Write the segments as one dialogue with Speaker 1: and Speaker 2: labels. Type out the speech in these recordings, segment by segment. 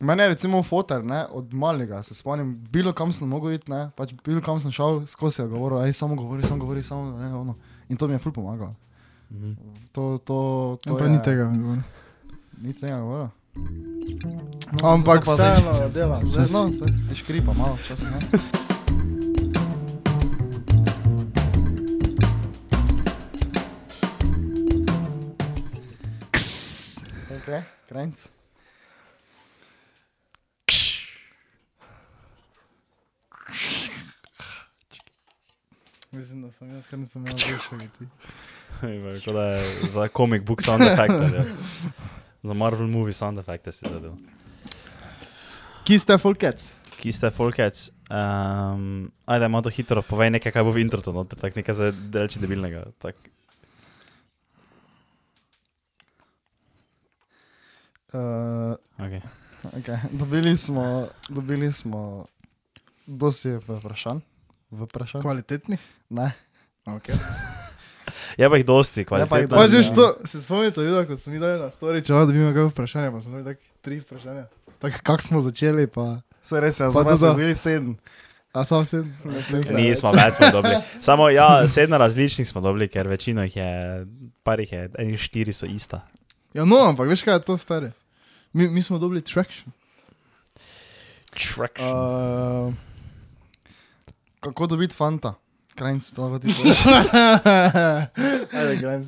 Speaker 1: Mene je recimo fotar, ne, od malega se spomnim, bilo kam sem mogel iti, ne, pač bilo kam sem šel, skozi je govoril, aj samo govori, samo govori, samo ne, ono. In to mi je ful pomagalo.
Speaker 2: Mhm.
Speaker 1: To, to, to
Speaker 3: Pa
Speaker 1: je,
Speaker 3: ni tega. odgovora.
Speaker 1: Ni tega No, govoril.
Speaker 3: Ampak vseeno
Speaker 1: dela, vedno, ti škripa malo, včasih ne. Ok, kranc.
Speaker 3: Mislim, da sem jaz, ker nisem imel boljše biti.
Speaker 2: Tako da je za comic book sound effect. Ja. Za Marvel movie sound effect si zadel.
Speaker 3: Ki ste folkec?
Speaker 2: Ki ste folkec. Um, ajde, malo to hitro, povej nekaj, kaj bo v introtu, no, tako nekaj za reči debilnega. Tak.
Speaker 3: Eh,
Speaker 1: Uh,
Speaker 2: Okay.
Speaker 1: okay. dobili, smo, dobili smo dosti vprašanj. Vprašanj?
Speaker 3: Kvalitetnih?
Speaker 1: Ne.
Speaker 3: Okay.
Speaker 2: Je Ja, pa jih dosti,
Speaker 1: pa jih dosti,
Speaker 2: kvalitetno.
Speaker 3: Paziš
Speaker 1: ja.
Speaker 3: Pač to, se spomnite, videl, ko smo mi dali na story, če vam dobimo kakšno vprašanje, pa smo imeli tako tri vprašanja.
Speaker 1: Tako kako smo začeli, pa se res je,
Speaker 3: Pa
Speaker 1: zdaj
Speaker 3: to
Speaker 1: smo
Speaker 3: za-
Speaker 1: bili sedem.
Speaker 3: A sam sem?
Speaker 2: Nismo več smo dobili. Samo ja, sedem različnih smo dobili, ker večino jih je, par jih je, eni štiri so ista.
Speaker 3: Ja, no, ampak veš kaj je to stare? Mi, mi smo dobili traction.
Speaker 2: Traction. Uh,
Speaker 3: Eh,
Speaker 1: Uh, kako dobiti fanta? Krajnc, to lahko ti poveš.
Speaker 3: Ajde, grajn.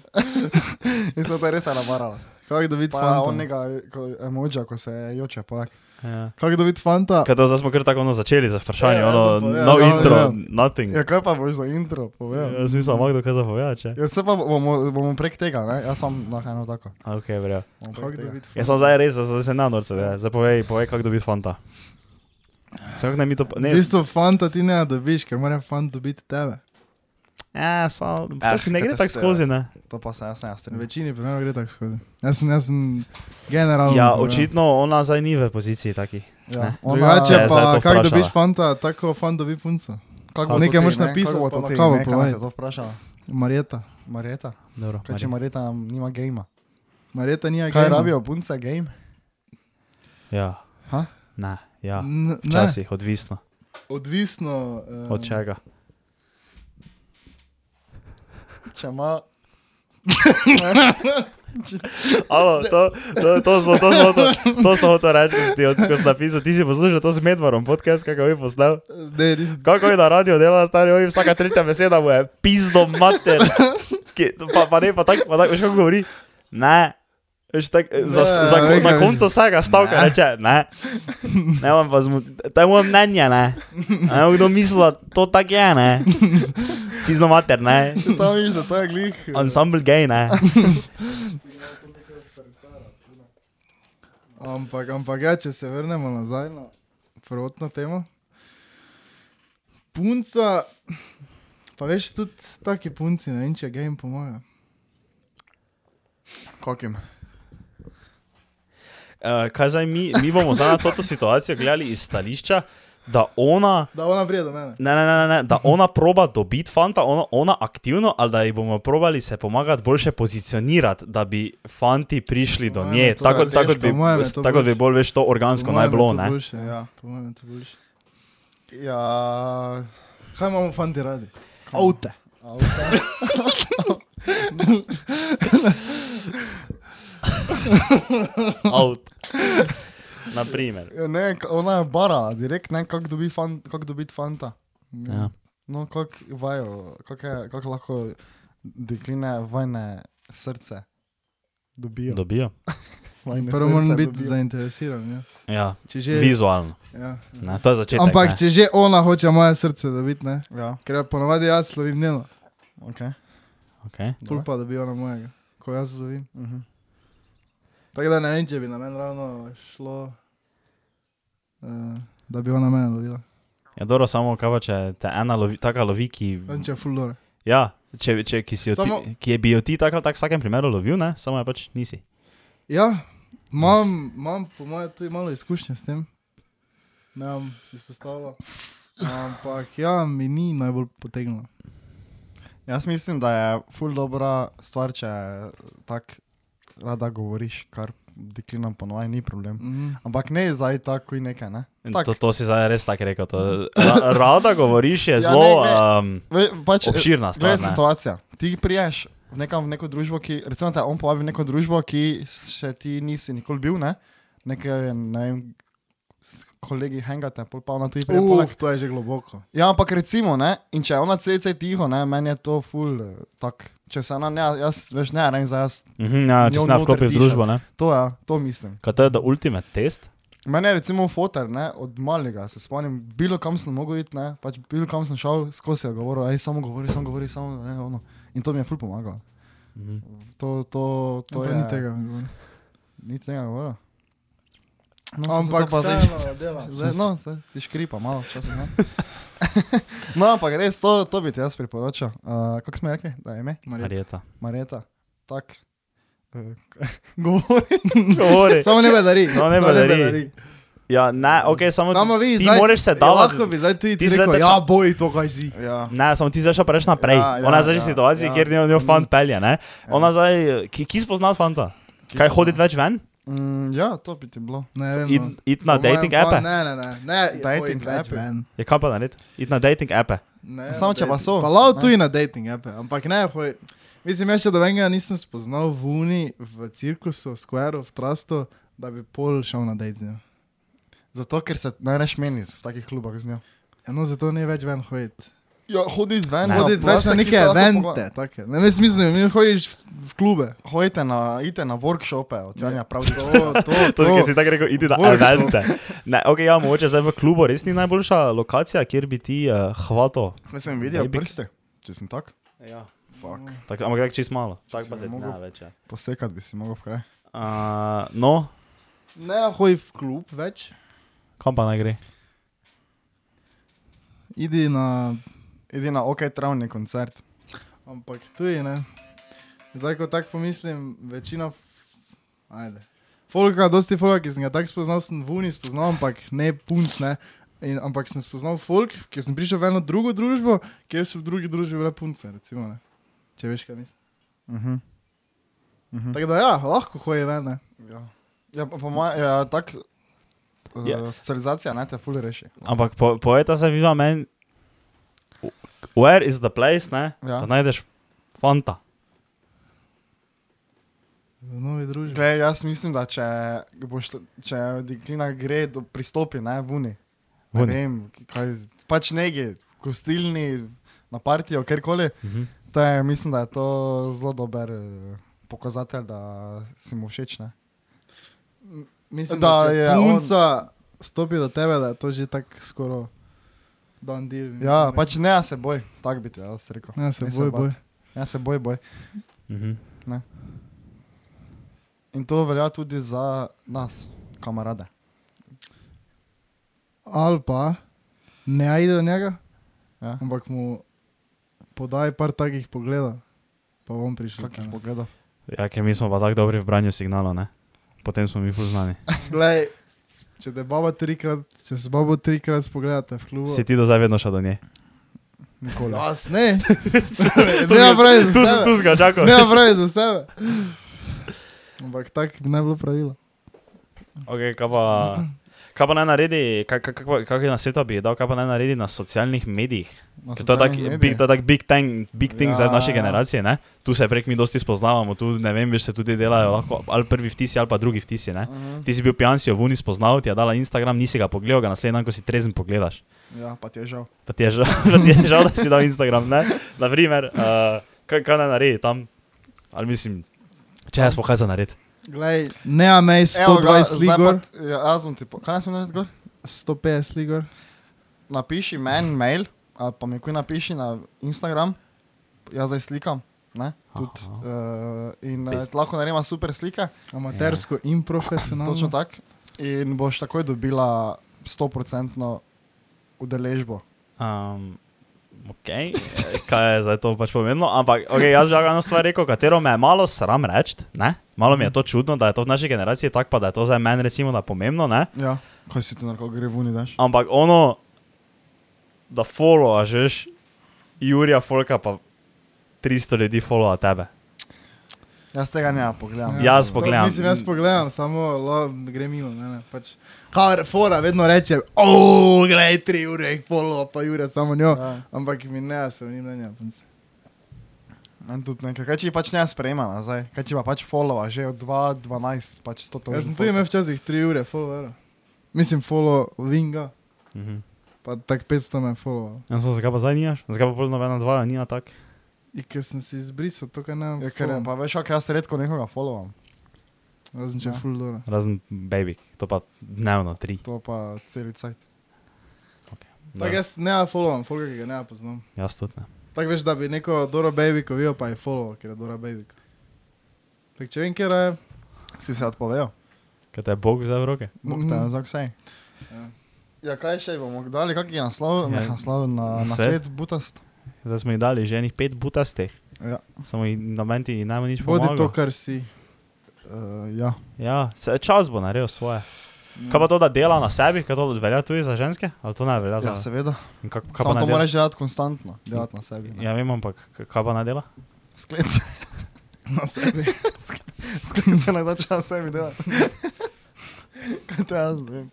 Speaker 1: Jaz sem to res namarala.
Speaker 3: Kako dobiti
Speaker 1: Pa
Speaker 3: fanta?
Speaker 1: onega ko, emoja, ko se joče, pa tako.
Speaker 2: ja.
Speaker 3: Kako dobiti fanta?
Speaker 2: Kaj to zdaj smo kar tako ono začeli za vprašanje,
Speaker 3: Ja,
Speaker 2: ja,
Speaker 3: jaz
Speaker 2: ono,
Speaker 3: sem povedal,
Speaker 2: no
Speaker 1: ja,
Speaker 2: intro,
Speaker 1: ja.
Speaker 2: nothing.
Speaker 1: Ja, kaj pa boš za intro povedal?
Speaker 2: Ja, Jaz mislim, da lahko kaj zapoveja, če.
Speaker 1: Ja, se pa bomo, bomo prek tega, ne? jaz sem na eno tako.
Speaker 2: Okay, bro.
Speaker 1: Bomo
Speaker 3: Kako
Speaker 1: prek tega.
Speaker 3: dobiti
Speaker 2: Jaz
Speaker 3: fanta?
Speaker 2: sem zdaj res, zdaj se na norce, ja. zdaj povej, povej, kako dobiti fanta. Samo kako naj mi to... po-
Speaker 3: V
Speaker 2: Ne,
Speaker 3: bistvu fanta ti ne dobiš, ker mora fant dobiti tebe.
Speaker 2: Ja, samo,
Speaker 1: Ah,
Speaker 2: to si ne gre tako
Speaker 1: katastrofa.
Speaker 2: skozi, ne.
Speaker 1: To pa se jaz ne
Speaker 3: V
Speaker 1: strinjam.
Speaker 3: večini primerov gre tako skozi. Jaz sem, jaz sem
Speaker 1: Um,
Speaker 3: generalno.
Speaker 2: Ja,
Speaker 3: povedal.
Speaker 2: očitno ona zdaj ni v poziciji taki.
Speaker 1: Ja.
Speaker 2: Ne.
Speaker 1: Ona-
Speaker 3: Drugače
Speaker 2: Ne, zdaj
Speaker 3: pa,
Speaker 2: to
Speaker 3: kako
Speaker 2: vprašala.
Speaker 3: dobiš fanta, tako fant dobi punco.
Speaker 1: Kako
Speaker 2: A
Speaker 1: bo to
Speaker 3: nekaj
Speaker 1: ti,
Speaker 3: moraš
Speaker 1: ne?
Speaker 3: napisati,
Speaker 1: Kako bo
Speaker 3: pa
Speaker 1: to
Speaker 3: na
Speaker 1: ti,
Speaker 3: kavo
Speaker 1: ne? Kaj nas
Speaker 3: povej.
Speaker 1: je to vprašala?
Speaker 3: Marjeta.
Speaker 1: Marjeta?
Speaker 2: Dobro,
Speaker 1: Kaj če
Speaker 2: Marija.
Speaker 1: Marjeta nima game?
Speaker 3: Marjeta ni agent.
Speaker 1: Kaj rabijo punce game?
Speaker 2: Ja.
Speaker 1: Ha?
Speaker 2: Ne, ja.
Speaker 3: Ne,
Speaker 2: Včasih, odvisno.
Speaker 3: odvisno. eh,
Speaker 2: Od čega?
Speaker 1: Če ima...
Speaker 2: Alo, to, to, to, smo, to, smo, to, to smo hotel reči, ti, od, ko si napisal, ti si poslušal to s Medvarom podcast, kako bi postal.
Speaker 3: Ne, nisem.
Speaker 2: Kako je na radiju dela, stari, ovi, vsaka tretja beseda mu je pizdo mater. Ki, pa, pa ne, pa tako, pa tako, veš kako govori? Ne. Veš, tak, za,
Speaker 3: Ne,
Speaker 2: za,
Speaker 3: vem, kaj
Speaker 2: na koncu
Speaker 3: mislim.
Speaker 2: vsega stavka ne. reče, ne. Ne, imam pa zmu, to je moje mnenje, ne. Ne, vem, kdo misli, da to tako je, ne. Pizdo mater, ne.
Speaker 1: Samo vidiš, da to je glih... eh,
Speaker 2: Ensemble gej, ne.
Speaker 3: Ampak, ampak ja, če se vrnemo nazaj na prvotno temo. Punca, pa veš, tudi taki punci, ne vem, če game pomaga.
Speaker 1: Kakim?
Speaker 2: Uh, kaj zdaj mi, mi bomo zdaj na to situacijo gledali iz stališča, da ona.
Speaker 3: Da, ona prije do mene.
Speaker 2: Ne, ne, ne, ne, ne, da ona proba dobiti fanta, ona, ona aktivno, ali da ji bomo probali se pomagati, boljše pozicionirati, da bi fanti prišli do
Speaker 3: mojem
Speaker 2: nje.
Speaker 3: je to
Speaker 2: Tako tako
Speaker 3: strateško,
Speaker 2: bi,
Speaker 3: po mojem je to
Speaker 2: tako bi
Speaker 3: boljše.
Speaker 2: bolj veš, to organsko naj bilo. ne.
Speaker 3: Ja,
Speaker 1: Ja.
Speaker 3: po mojem je to boljše.
Speaker 1: Ja...
Speaker 3: Kaj imamo fanti radi?
Speaker 1: Kaj?
Speaker 3: Avte.
Speaker 1: Avta.
Speaker 2: Avt. Naprimer.
Speaker 1: Ja, Ne, k- ona je bara, direkt ne, kako dobi fan, kak dobiti fanta.
Speaker 2: Ja.
Speaker 1: No, kako vajo, kako kak lahko dekline vajne srce dobijo.
Speaker 2: Ja. Dobijo.
Speaker 1: Vajne
Speaker 3: Prvo moram
Speaker 1: srce
Speaker 3: biti
Speaker 1: dobijo.
Speaker 3: zainteresiran. Ja.
Speaker 2: Ja.
Speaker 3: Če že,
Speaker 2: Vizualno.
Speaker 3: ja.
Speaker 2: Ne, to je začetek.
Speaker 3: Ampak
Speaker 2: ne.
Speaker 3: če že ona hoče moje srce dobiti, ne?
Speaker 1: Ja,
Speaker 3: Ker ponovadi jaz slovim njeno,
Speaker 1: ok.
Speaker 2: Okay.
Speaker 3: pol pa dobi ona mojega, ko jaz slovim.
Speaker 1: Mhm.
Speaker 3: Tako da ne vem, če bi na meni ravno šlo, uh, da bi ona mene lovila.
Speaker 2: Ja, dobro, samo kaj pa če te ena lovi, taka lovi, ki.
Speaker 3: Vem, če je full dore.
Speaker 2: Ja, če, če, ki, si jo
Speaker 3: Samo-
Speaker 2: ti, ki je bi jo ti tako ali tako v vsakem primeru lovil, ne? samo je pač nisi.
Speaker 3: Ja, imam, imam po mojem tudi malo izkušnje s tem. Ne bom izpostavljal. Ampak ja, mi ni najbolj potegnilo.
Speaker 1: Jaz mislim, da je ful dobra stvar, če tako rada govoriš, kar deklinam ponovaj ni problem.
Speaker 3: Mhm.
Speaker 1: Ampak ne zdaj tako in nekaj, ne.
Speaker 2: In
Speaker 1: Tak.
Speaker 2: To, to si zdaj res tako rekel. To, ra, rada govoriš, je
Speaker 1: Ja,
Speaker 2: zelo
Speaker 1: ne,
Speaker 2: ja,
Speaker 1: ne.
Speaker 2: um,
Speaker 1: Ve, pač, eh,
Speaker 2: obširna
Speaker 1: To
Speaker 2: stvar.
Speaker 1: je
Speaker 2: ne.
Speaker 1: situacija. Ti priješ v, nekam, v neko družbo, ki, recimo, da on povabi v neko družbo, ki še ti nisi nikoli bil, ne? Nekaj, ne vem, s kolegi hengate, pol pa ona tu
Speaker 3: Ja,
Speaker 1: prije poleg.
Speaker 3: Uf, to je že globoko.
Speaker 1: Ja, ampak recimo, ne? In če je ona celice tiho, ne, meni je to ful, eh, tak. Če se ona ne, jaz, veš, ne, ne, za jaz,
Speaker 2: Mhm, ja, če
Speaker 1: njo
Speaker 2: si ne
Speaker 1: noter
Speaker 2: vklopi v
Speaker 1: dišati.
Speaker 2: družbo, ne.
Speaker 1: to ja, to mislim.
Speaker 2: Kaj to je, da ultimate test?
Speaker 1: Mene je recimo fotar, ne, od malega, se spomnim, bilo kam sem mogel iti, ne, pač bilo kam sem šel, skozi je govoril, ej, samo govori, samo govori, samo, ne, ono. In to mi je ful pomagalo.
Speaker 2: Mhm.
Speaker 1: To, to, to
Speaker 3: To
Speaker 1: je.
Speaker 3: je Ja, ni tega. govor.
Speaker 1: Ni tega govora. No, saj se
Speaker 3: Ampak
Speaker 1: to pa zdaj.
Speaker 3: vseeno dela.
Speaker 1: Zdaj, no, zdaj ti škripa malo, včasih ne. no, ampak res, to, to bi ti jaz priporočal. Uh, Kako smo rekli, da je ime?
Speaker 3: Marjeta.
Speaker 2: Marjeta.
Speaker 1: Marjeta. Tak. Uh, govori.
Speaker 2: Govori.
Speaker 3: Samo ne bedari.
Speaker 2: Samo No, ne
Speaker 3: samo
Speaker 2: bedari. Ja, ne, ok, samo,
Speaker 3: Samo
Speaker 2: ti,
Speaker 3: vi,
Speaker 2: ti
Speaker 3: zdaj-
Speaker 2: moraš se
Speaker 3: Ja,
Speaker 2: davati.
Speaker 3: Lahko bi zdaj tudi
Speaker 2: ti
Speaker 3: ti rekel,
Speaker 2: zdaj
Speaker 3: ja,
Speaker 2: tako-
Speaker 3: boj to, kaj si.
Speaker 1: Ja.
Speaker 2: Ne, samo ti zdaj še prejš naprej.
Speaker 1: Ja,
Speaker 2: Ja,
Speaker 1: ja,
Speaker 2: ona je zdaj že v
Speaker 1: ja,
Speaker 2: situaciji, ja.
Speaker 1: ja.
Speaker 2: kjer njo, njo fant pelje. Ne? Ona zdaj, ki, ki spozna fanta? Kaj hoditi več ven?
Speaker 1: Mm, ja, to bi ti bilo.
Speaker 3: Ne vem. no.
Speaker 2: Id, id na
Speaker 3: Po mojem
Speaker 2: dating
Speaker 3: pa-
Speaker 2: ape?
Speaker 3: Ne, ne, ne. ne
Speaker 1: Ja, Dating
Speaker 3: oj, več
Speaker 1: ape.
Speaker 3: ven.
Speaker 2: Je kaj pa narediti? Id na dating ape.
Speaker 3: Ne,
Speaker 1: Samo
Speaker 3: na
Speaker 1: če pa
Speaker 3: dating-
Speaker 1: so,
Speaker 3: Pa lao
Speaker 1: ne.
Speaker 3: tudi na dating ape, ampak ne, hoj. Mislim, jaz še do enega nisem spoznal v Uni, v cirkusu, v Squareu, v Trustu, da bi pol šel na date z njo.
Speaker 1: Zato, ker se ne reš meniti v takih klubah z njo.
Speaker 3: Eno Ja, no, zato ne več ven hoditi.
Speaker 1: Ja, hoditi ven,
Speaker 2: Ne.
Speaker 1: na
Speaker 3: Hoditi več
Speaker 1: place,
Speaker 3: na
Speaker 1: ki
Speaker 3: neke
Speaker 1: se lahko
Speaker 3: evente, take. Ne, ne smislim, mi hodiš v, v klube.
Speaker 1: pogo- Hodite na, idite na workshope, odvajanja pravzaprav.
Speaker 2: To, ki si tako rekel, idi na
Speaker 3: Workshop.
Speaker 2: evente. Ne, ok, ja, mogoče zdaj v klubu res ni najboljša lokacija, kjer bi ti uh, hvato.
Speaker 1: Ne sem videl
Speaker 2: Baby.
Speaker 1: prste, če sem tak.
Speaker 2: Ja.
Speaker 1: Fuck.
Speaker 2: Tak, ampak tako čist malo.
Speaker 1: Če
Speaker 2: Tako
Speaker 1: si
Speaker 2: pa
Speaker 1: ne
Speaker 2: se ti ne
Speaker 1: mogel.
Speaker 2: več. ja.
Speaker 1: Posekat bi si mogel v kraj.
Speaker 2: Uh, no,
Speaker 3: Ne hodi v klub več,
Speaker 2: kam pa naj gre?
Speaker 3: idi na
Speaker 1: Edina ok, travni koncert.
Speaker 3: Ampak tudi ne. Zdaj, ko tako pomislim, večina. f- Ajde. Folka, dosti folka, ki sem ga tako spoznal, sem v Uni spoznal, ampak ne punc. Ne. In, ampak sem spoznal folk, ki sem prišel v eno drugo družbo, kjer so v drugi družbi bile punce. Recimo, ne. Če veš, kaj mislim.
Speaker 1: Uh -huh.
Speaker 3: Tako da ja, lahko hoje ven. ne.
Speaker 1: Mhm. Ja, ja pa, pa moja, ja, tak, uh,
Speaker 2: Ja.
Speaker 1: yeah. socializacija ne te ful reši.
Speaker 2: Ampak po, poeta se viva meni, where is the place, ne?
Speaker 1: Ja.
Speaker 2: Da najdeš fanta.
Speaker 3: V novi družbi.
Speaker 1: Glej, jaz mislim, da če, boš, to- če deklina gre, do, pristopi ne, v uni. Ne
Speaker 2: Vuni.
Speaker 1: vem, kaj, pač negi, gostilni, na partijo, kjerkoli.
Speaker 2: Mhm.
Speaker 1: To je, mislim, da je to zelo dober eh, pokazatelj, da si mu všeč. Ne?
Speaker 3: Mislim, da,
Speaker 1: Da
Speaker 3: da
Speaker 1: je
Speaker 3: je
Speaker 1: on-
Speaker 3: punca on... stopi do tebe, da je to že tako skoro dan del.
Speaker 1: Ja, pač ne, ja se boj, tako bi ti jaz rekel.
Speaker 3: Ne, se
Speaker 1: Ne se
Speaker 3: boj,
Speaker 1: bat.
Speaker 3: boj.
Speaker 1: Ja, se boj, boj.
Speaker 2: Mhm.
Speaker 1: In to velja tudi za nas, kamarade.
Speaker 3: ali pa ne ajde do njega,
Speaker 1: Ja.
Speaker 3: ja. ampak mu podaj par takih pogledov, pa bom prišel.
Speaker 1: Kakih pogledov.
Speaker 2: Ja, ker mi smo pa tako dobri v branju signala, ne? Potem smo mi ful znani.
Speaker 3: Glej, če te baba trikrat, če se babo trikrat spogledate v klubu.
Speaker 2: Si ti do zdaj vedno šel do nje?
Speaker 1: Nikoli.
Speaker 3: Vas ne, ne naprej za
Speaker 2: Tu sem, tu
Speaker 3: sebe.
Speaker 2: sem ga čakal.
Speaker 3: Ne naprej za sebe. Ampak tako bi naj bilo pravilo.
Speaker 2: Ok, kaj pa, kaj pa naj naredi, kaj- kaj- kaj pa- kakšne nasvete bi ji dal, kaj pa naj naredi na socialnih medijih?
Speaker 1: Na
Speaker 2: Ker To je tak
Speaker 1: socialnih
Speaker 2: big,
Speaker 1: medijih.
Speaker 2: to je tak big thing, big thing ja, za
Speaker 1: Ja,
Speaker 2: naše
Speaker 1: ja, ja.
Speaker 2: generacije, ne? Tu se prek mi dosti spoznavamo, tu ne vem, veš se tudi delajo lahko ali prvi vtisi ali pa drugi vtisi, ne?
Speaker 1: Mhm.
Speaker 2: Ti si bil pijan, si jo vuni spoznal, ti je dala Instagram, nisi ga pogledal, ga naslednji dan, ko si trezen pogledaš.
Speaker 1: Ja, pa ti je žal.
Speaker 2: Pa ti je žal, pa ti je žal da si dal Instagram, ne? Naprimer, uh, kaj, kaj naj naredi tam? Ali mislim, če jaz pa kaj za narediti?
Speaker 3: Glej, ne amej
Speaker 1: Evo ga, zdaj
Speaker 3: 120 ligor,
Speaker 1: pa t- Ja, jaz bom ti po... Kaj naj sem naredil?
Speaker 3: 150 ligor.
Speaker 1: Napiši meni mail, ali pa mi kuj napiši na Instagram, jaz zdaj slikam. Ne? Tud, uh, in uh,
Speaker 2: Business.
Speaker 1: lahko narediva super slike,
Speaker 3: Amatersko ja. in profesionalno.
Speaker 1: točno tako. In boš takoj dobila 100% udeležbo.
Speaker 2: Um, ok, eh, kaj je zdaj to pač pomembno, ampak okay, jaz bi lahko eno stvar rekel, katero me je malo sram reči, ne? malo mi je to čudno, da je to v naši generaciji tako, pa da je to za meni recimo da pomembno, ne?
Speaker 1: Ja, kaj si ti na koga gre vuni daš?
Speaker 2: ampak ono, da followaš, veš, Jurija Folka pa 300 ljudi followa tebe.
Speaker 1: Jaz tega ne pogledam.
Speaker 2: Ja. Jaz pogledam.
Speaker 3: Mislim, jaz pogledam, samo lo, gre mimo mene. Pač. Kar fora vedno reče, o, gledaj, tri ure, in polo, pa ure samo njo.
Speaker 1: Ja.
Speaker 3: Ampak mi ne, jaz spremem mnenja punce.
Speaker 1: Meni tudi nekaj. Kaj če jih pač ne sprejema nazaj? Kaj če pa pač followa, že od 2.12, pač 100 to.
Speaker 3: Jaz sem tudi imel včasih tri ure, follower. Mislim, follow vinga,
Speaker 2: Mhm.
Speaker 3: pa tak 500 me je follow.
Speaker 2: Ja, sem zakaj pa zdaj nimaš? Zakaj pa pol nobena dva nima tak?
Speaker 3: In ker sem si izbrisal to, kar ne.
Speaker 1: Ja, ker
Speaker 3: followam.
Speaker 1: pa veš, kaj jaz redko nekoga followam.
Speaker 3: Razen
Speaker 1: Ja.
Speaker 3: če je full dora.
Speaker 2: Razen baby, to pa dnevno tri.
Speaker 1: To pa celi cajt.
Speaker 2: Da.
Speaker 3: Tako jaz ne followam, folga, ki ga ne poznam.
Speaker 2: Jaz tudi ne.
Speaker 3: Tako veš, da bi neko Dora Babiko videl, pa je follow, ker je Dora Babiko. Tak če vem, ker je.
Speaker 1: Si se odpovejo?
Speaker 2: Kaj te je Bog vzel v roke?
Speaker 1: Bog
Speaker 3: Mhm.
Speaker 1: te je za vse.
Speaker 3: Ja.
Speaker 1: Ja, kaj še bomo dali, kak je naslov,
Speaker 2: Ja.
Speaker 1: ja. naslov na, na
Speaker 2: Svet.
Speaker 1: svet, butast?
Speaker 2: Zdaj smo ji dali že enih pet butastih.
Speaker 1: Ja.
Speaker 2: Samo ji na meni ti najmanj nič
Speaker 3: Bodi
Speaker 2: pomaga.
Speaker 3: to, kar si. eh,
Speaker 1: Uh, ja.
Speaker 2: Ja, se, čas bo naredil svoje. Kaj pa to, da dela na sebi, kaj to velja tudi za ženske? Ali to ne velja za
Speaker 1: ja, seveda.
Speaker 2: In Kak, kaj pa
Speaker 1: Samo
Speaker 2: naj
Speaker 1: to
Speaker 2: dela?
Speaker 1: moraš delati konstantno, delati na sebi. ne.
Speaker 2: Ja, vem, ampak k- kaj pa naj dela?
Speaker 1: Sklic,
Speaker 3: Na sebi.
Speaker 1: sklic se ne da če na sebi delati. Kaj to jaz ne vem?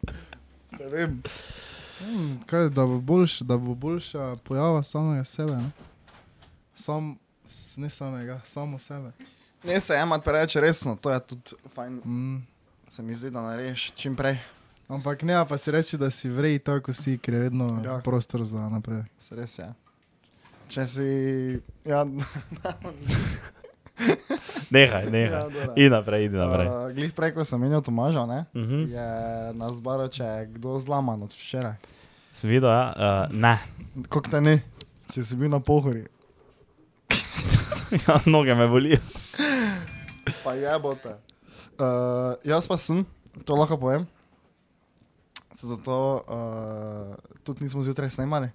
Speaker 1: Ne vem.
Speaker 3: Mm, kaj, da bo, boljš, da bo boljša pojava samega sebe. Ne? Sam, s- ne samega, samo sebe.
Speaker 1: Ne se jemat preveč resno, to je tudi fajn.
Speaker 3: Mm.
Speaker 1: Se mi zdi, da narediš čim prej.
Speaker 3: Ampak ne, pa si reči, da si vrej tako, kot si, ker je vedno
Speaker 1: Ja.
Speaker 3: ja. prostor za naprej.
Speaker 1: Se res je. Če si... Ja,
Speaker 2: Nehaj, nehaj.
Speaker 1: Ja, dobro.
Speaker 2: In naprej, in naprej.
Speaker 1: Uh, glih prej, ko sem menil Tomaža, ne?
Speaker 2: Mhm.
Speaker 1: Je nas zbaro, če je kdo zlaman od včeraj.
Speaker 2: Sem videl, ja, uh, ne.
Speaker 1: Kako te ni, če si bil na pohori.
Speaker 2: Ja, Noge me bolijo.
Speaker 1: Pa jebote. Uh, jaz pa sem, to lahko povem. Se zato uh, tudi nismo zjutraj snemali,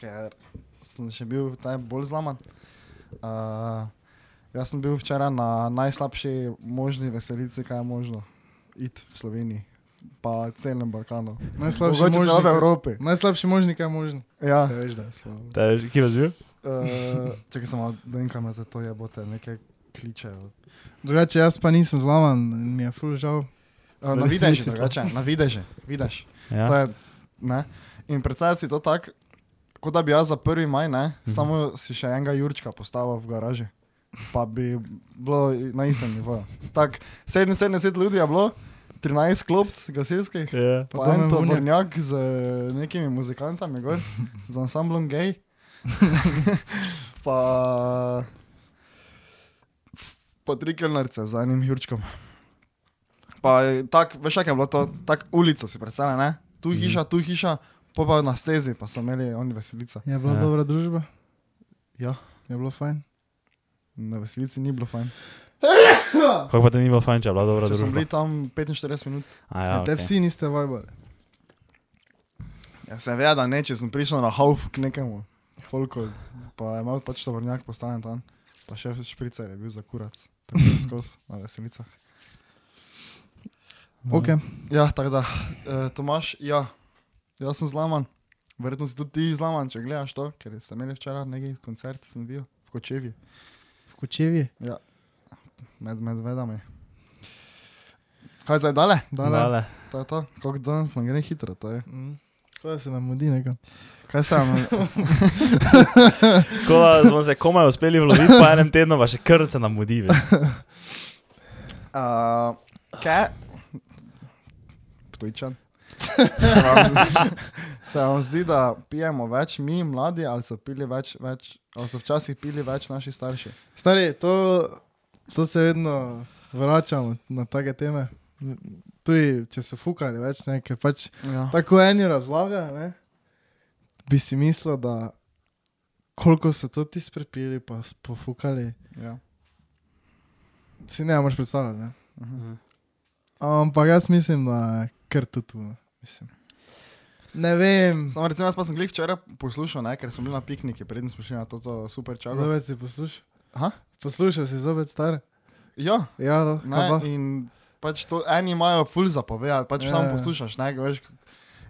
Speaker 1: ker sem še bil tam bolj zlaman. Uh, jaz sem bil včeraj na najslabši možni veselici, kaj je možno, id v Sloveniji, pa celem Balkanu.
Speaker 3: Najslabši
Speaker 1: Mogoče celo v
Speaker 3: kaj-
Speaker 1: Evropi.
Speaker 3: Najslabši možni, kaj je možen.
Speaker 1: Ja.
Speaker 3: Ja, veš, da je slabo.
Speaker 2: Te, kje vas bil?
Speaker 1: Uh, čakaj, samo da enkrat me za to jebote, nekaj kličejo.
Speaker 3: Drugače, jaz pa nisem zlaman, in mi je ful žal.
Speaker 1: Uh, na videži, drugače, no, na videži, vidiš. To
Speaker 2: Ja.
Speaker 1: je, ne? In predstavljaj si to tako, kot da bi jaz za 1. maj, ne, mm -hmm. samo si še enega Jurčka postavil v garaži, pa bi bilo na istem nivoju. Tako 77 ljudi je bilo, 13 klopc gasilskih,
Speaker 2: Ja.
Speaker 1: pa,
Speaker 3: Pa
Speaker 1: pa en
Speaker 3: domen Vunja.
Speaker 1: tovornjak z eh, nekimi muzikantami, gor, z ansamblom gej. pa, pa tri kelnarice z enim Jurčkom. Pa je tako, veš, kaj je bilo to, tako ulica si predstavlja, ne? Tu
Speaker 2: Mhm.
Speaker 1: hiša, tu hiša, pa pa na stezi, pa so imeli oni veselica.
Speaker 3: Je bila
Speaker 2: Ja.
Speaker 3: ja. dobra družba,
Speaker 1: Ja,
Speaker 3: je bilo fajn.
Speaker 1: na veselici ni bilo fajn.
Speaker 2: Kako pa te ni bilo fajn, če je bila dobra
Speaker 1: Če smo
Speaker 2: družba?
Speaker 1: bili tam 45 minut.
Speaker 2: A, ja,
Speaker 3: Ja, Te
Speaker 2: okay.
Speaker 3: vsi niste vajbali.
Speaker 1: Ja, se ve, da ne, če sem prišel na hauf k nekemu, folko, pa je imel pač tovornjak postavljen tam, pa še špricer je bil za kurac, tako da skozi na veselicah.
Speaker 3: Okay.
Speaker 1: Ja, tako da, e, Tomaš, ja, jaz sem zlaman, verjetno si tudi ti zlaman, če gledaš to, ker ste imeli včeraj neki koncert, sem bil v Kočevi,
Speaker 3: V kočevje.
Speaker 1: med medvedami. Kaj zdaj dale?
Speaker 3: Dale. Dale.
Speaker 2: Dale.
Speaker 1: To je to, koliko danes nam gre hitro, to je.
Speaker 3: Mm. Kaj se nam mudi nekam?
Speaker 1: Kaj sem,
Speaker 2: Ko da smo se komaj uspeli vloviti po enem tednu, pa še kar se nam mudi. veš.
Speaker 1: uh, kaj? Ptojčan. Se vam zdi, da pijemo več mi, mladi, ali so, pili več, več, ali so včasih pili več naši starši?
Speaker 3: Stari, to, to se vedno vračamo na take teme. Tudi če so fukali več, ne, ker pač
Speaker 1: Ja.
Speaker 3: tako eni razlagajo, ne, bi si mislil, da koliko so to ti sprepili, pa s- pofukali,
Speaker 1: Ja.
Speaker 3: si ne moreš predstavljati. Ne.
Speaker 2: Mhm.
Speaker 3: Ampak jaz mislim, da je kar to tu. ne, mislim. Ne vem,
Speaker 1: Samo recimo, jaz pa sem glih včeraj poslušal, ne, ker smo bili na pikniku, preden smo šli na to, to super čago.
Speaker 3: zopet si poslušal.
Speaker 1: Aha.
Speaker 3: Poslušal si zopet stare.
Speaker 1: Ja,
Speaker 3: Ja, no, kaj
Speaker 1: ne,
Speaker 3: pa?
Speaker 1: in pač to eni imajo ful zapovedati, pač
Speaker 3: Ja,
Speaker 1: samo
Speaker 3: ja.
Speaker 1: poslušaš, ne, veš.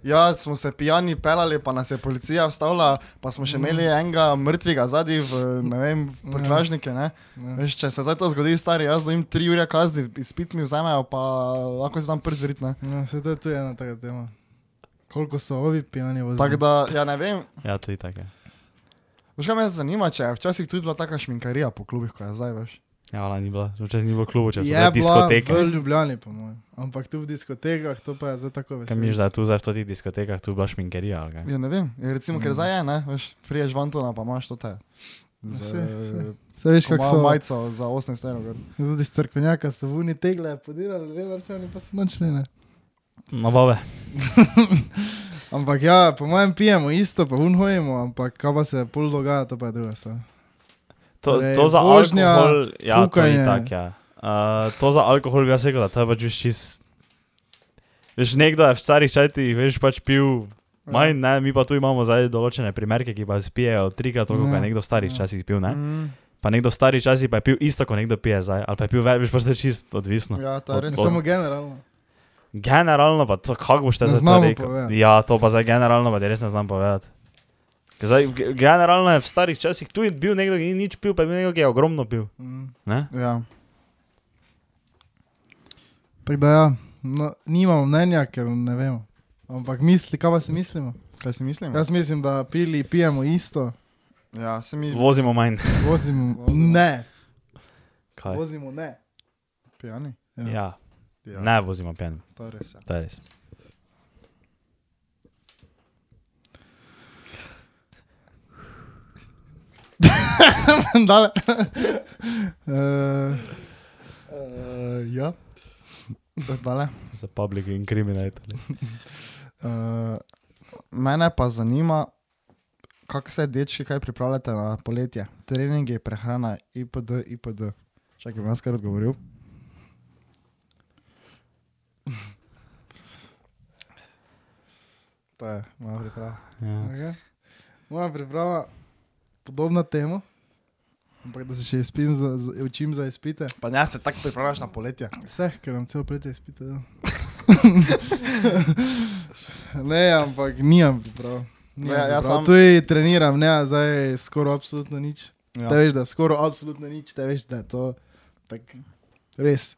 Speaker 1: Ja, smo se pijani pelali, pa nas je policija ustavila, pa smo
Speaker 3: Mhm.
Speaker 1: še imeli enega mrtvega zadnji v, ne vem,
Speaker 3: Ja.
Speaker 1: v prtljažnike, ne. Veš, če se zdaj to zgodi, stari, jaz doim tri ure kazni, izpit mi vzamejo, pa lahko se tam przvrit, ne.
Speaker 3: Ja, se to je tudi ena taka tema. Koliko so ovi pijani vozili?
Speaker 1: Tako da, ja ne vem,
Speaker 2: Ja, tudi tako je.
Speaker 1: veš kaj me zanima, če je včasih tudi bila taka šminkarija po klubih, ko je zdaj, veš.
Speaker 2: Ja, ona ni bila, včasih ni bilo klubu, če so
Speaker 3: je
Speaker 1: Ja,
Speaker 2: bile diskoteke.
Speaker 3: bila v Ljubljani, po mojem. Ampak tu v diskotekah, to pa je zdaj tako
Speaker 2: Kaj misliš, da je tu zdaj v teh diskotekah, tu je bila šminkerija ali kaj?
Speaker 1: Ja, ne vem, ja, recimo,
Speaker 3: Mhm.
Speaker 1: ker zdaj je, ne, veš, priješ vantona, pa imaš to te. Z,
Speaker 3: Ja, Saj, Se veš, kako
Speaker 1: Kako
Speaker 3: so
Speaker 1: majico za 18 evrov. gor.
Speaker 3: Tudi iz crkvenjaka so vuni tegle podirali, le vrčani pa so nočni, ne.
Speaker 2: No, babe.
Speaker 3: Ampak ja, po mojem pijemo isto, pa vun hojimo, ampak kaj pa se pol dogaja, to pa je druga stvar.
Speaker 2: To,
Speaker 3: Torej,
Speaker 2: to za
Speaker 3: vožnja,
Speaker 2: alkohol, ja, to je
Speaker 3: fukanje.
Speaker 2: tako. Ja. Uh, to za alkohol bi jaz rekel, da to je pač veš čist. Veš, nekdo je v starih čajtih, veš, pač pil.
Speaker 1: Ja.
Speaker 2: Manj, ne, mi pa tu imamo zdaj določene primerke, ki pa spijejo trikrat toliko, kot
Speaker 3: Ja.
Speaker 2: je nekdo v starih
Speaker 3: Ja.
Speaker 2: časih pil. Ne?
Speaker 1: Mm.
Speaker 2: Pa nekdo v starih časih pa je pil isto, kot nekdo pije zdaj, ali pa je pil več, veš, pač to je čisto odvisno.
Speaker 1: Ja, to je
Speaker 2: Od-
Speaker 1: res.
Speaker 2: od-
Speaker 3: Samo generalno.
Speaker 2: Generalno pa to, kako boš te
Speaker 3: Ne
Speaker 2: zdaj to
Speaker 3: znamo
Speaker 2: rekel?
Speaker 3: povedati.
Speaker 2: Ja, to pa zdaj generalno pa ti res ne znam povedati. Ker Zdaj, ge- generalno je v starih časih tudi bil nekdo, ki ni nič pil, pa je bil nekdo, ki je ogromno pil.
Speaker 3: Mm.
Speaker 2: Ne?
Speaker 1: Ja.
Speaker 3: Tako da ja, no, nimamo mnenja, ker ne vemo. Ampak misli, kaj pa si mislimo?
Speaker 1: Kaj si mislim?
Speaker 3: Jaz mislim, da pili, pijemo isto,
Speaker 1: Ja, se mi
Speaker 2: Vozimo manj.
Speaker 3: vozimo.
Speaker 1: Vozimo.
Speaker 3: Ne,
Speaker 2: Kaj?
Speaker 3: vozimo ne.
Speaker 1: pijani.
Speaker 2: Ja,
Speaker 1: Ja,
Speaker 2: ne vozimo pijan,
Speaker 1: To je res. Ja.
Speaker 2: to je res.
Speaker 3: Dale. Eh,
Speaker 1: Uh, ja. Dale.
Speaker 2: Za public in kriminalitete.
Speaker 1: Uh, mene pa zanima, kako se dečki kaj pripravljate na poletje. Treningi, prehrana, IPD, IPD. Čakaj, bom jaz kar odgovoril. To je moja priprava.
Speaker 2: Ja.
Speaker 3: okay. Moja priprava podobna temu, ampak da se še izpim za, za, učim za izpite.
Speaker 1: Pa ne, se tako pripravljaš na poletje.
Speaker 3: Vseh, ker nam celo poletje izpite. Ja. ne, ampak nimam priprav. Nimam
Speaker 1: Ja, jaz
Speaker 3: priprav.
Speaker 1: sam-
Speaker 3: Tudi treniram, ne, zdaj skoraj absolutno nič.
Speaker 1: Ja.
Speaker 3: Te veš, da skoraj absolutno nič, te veš, da je to tak, res.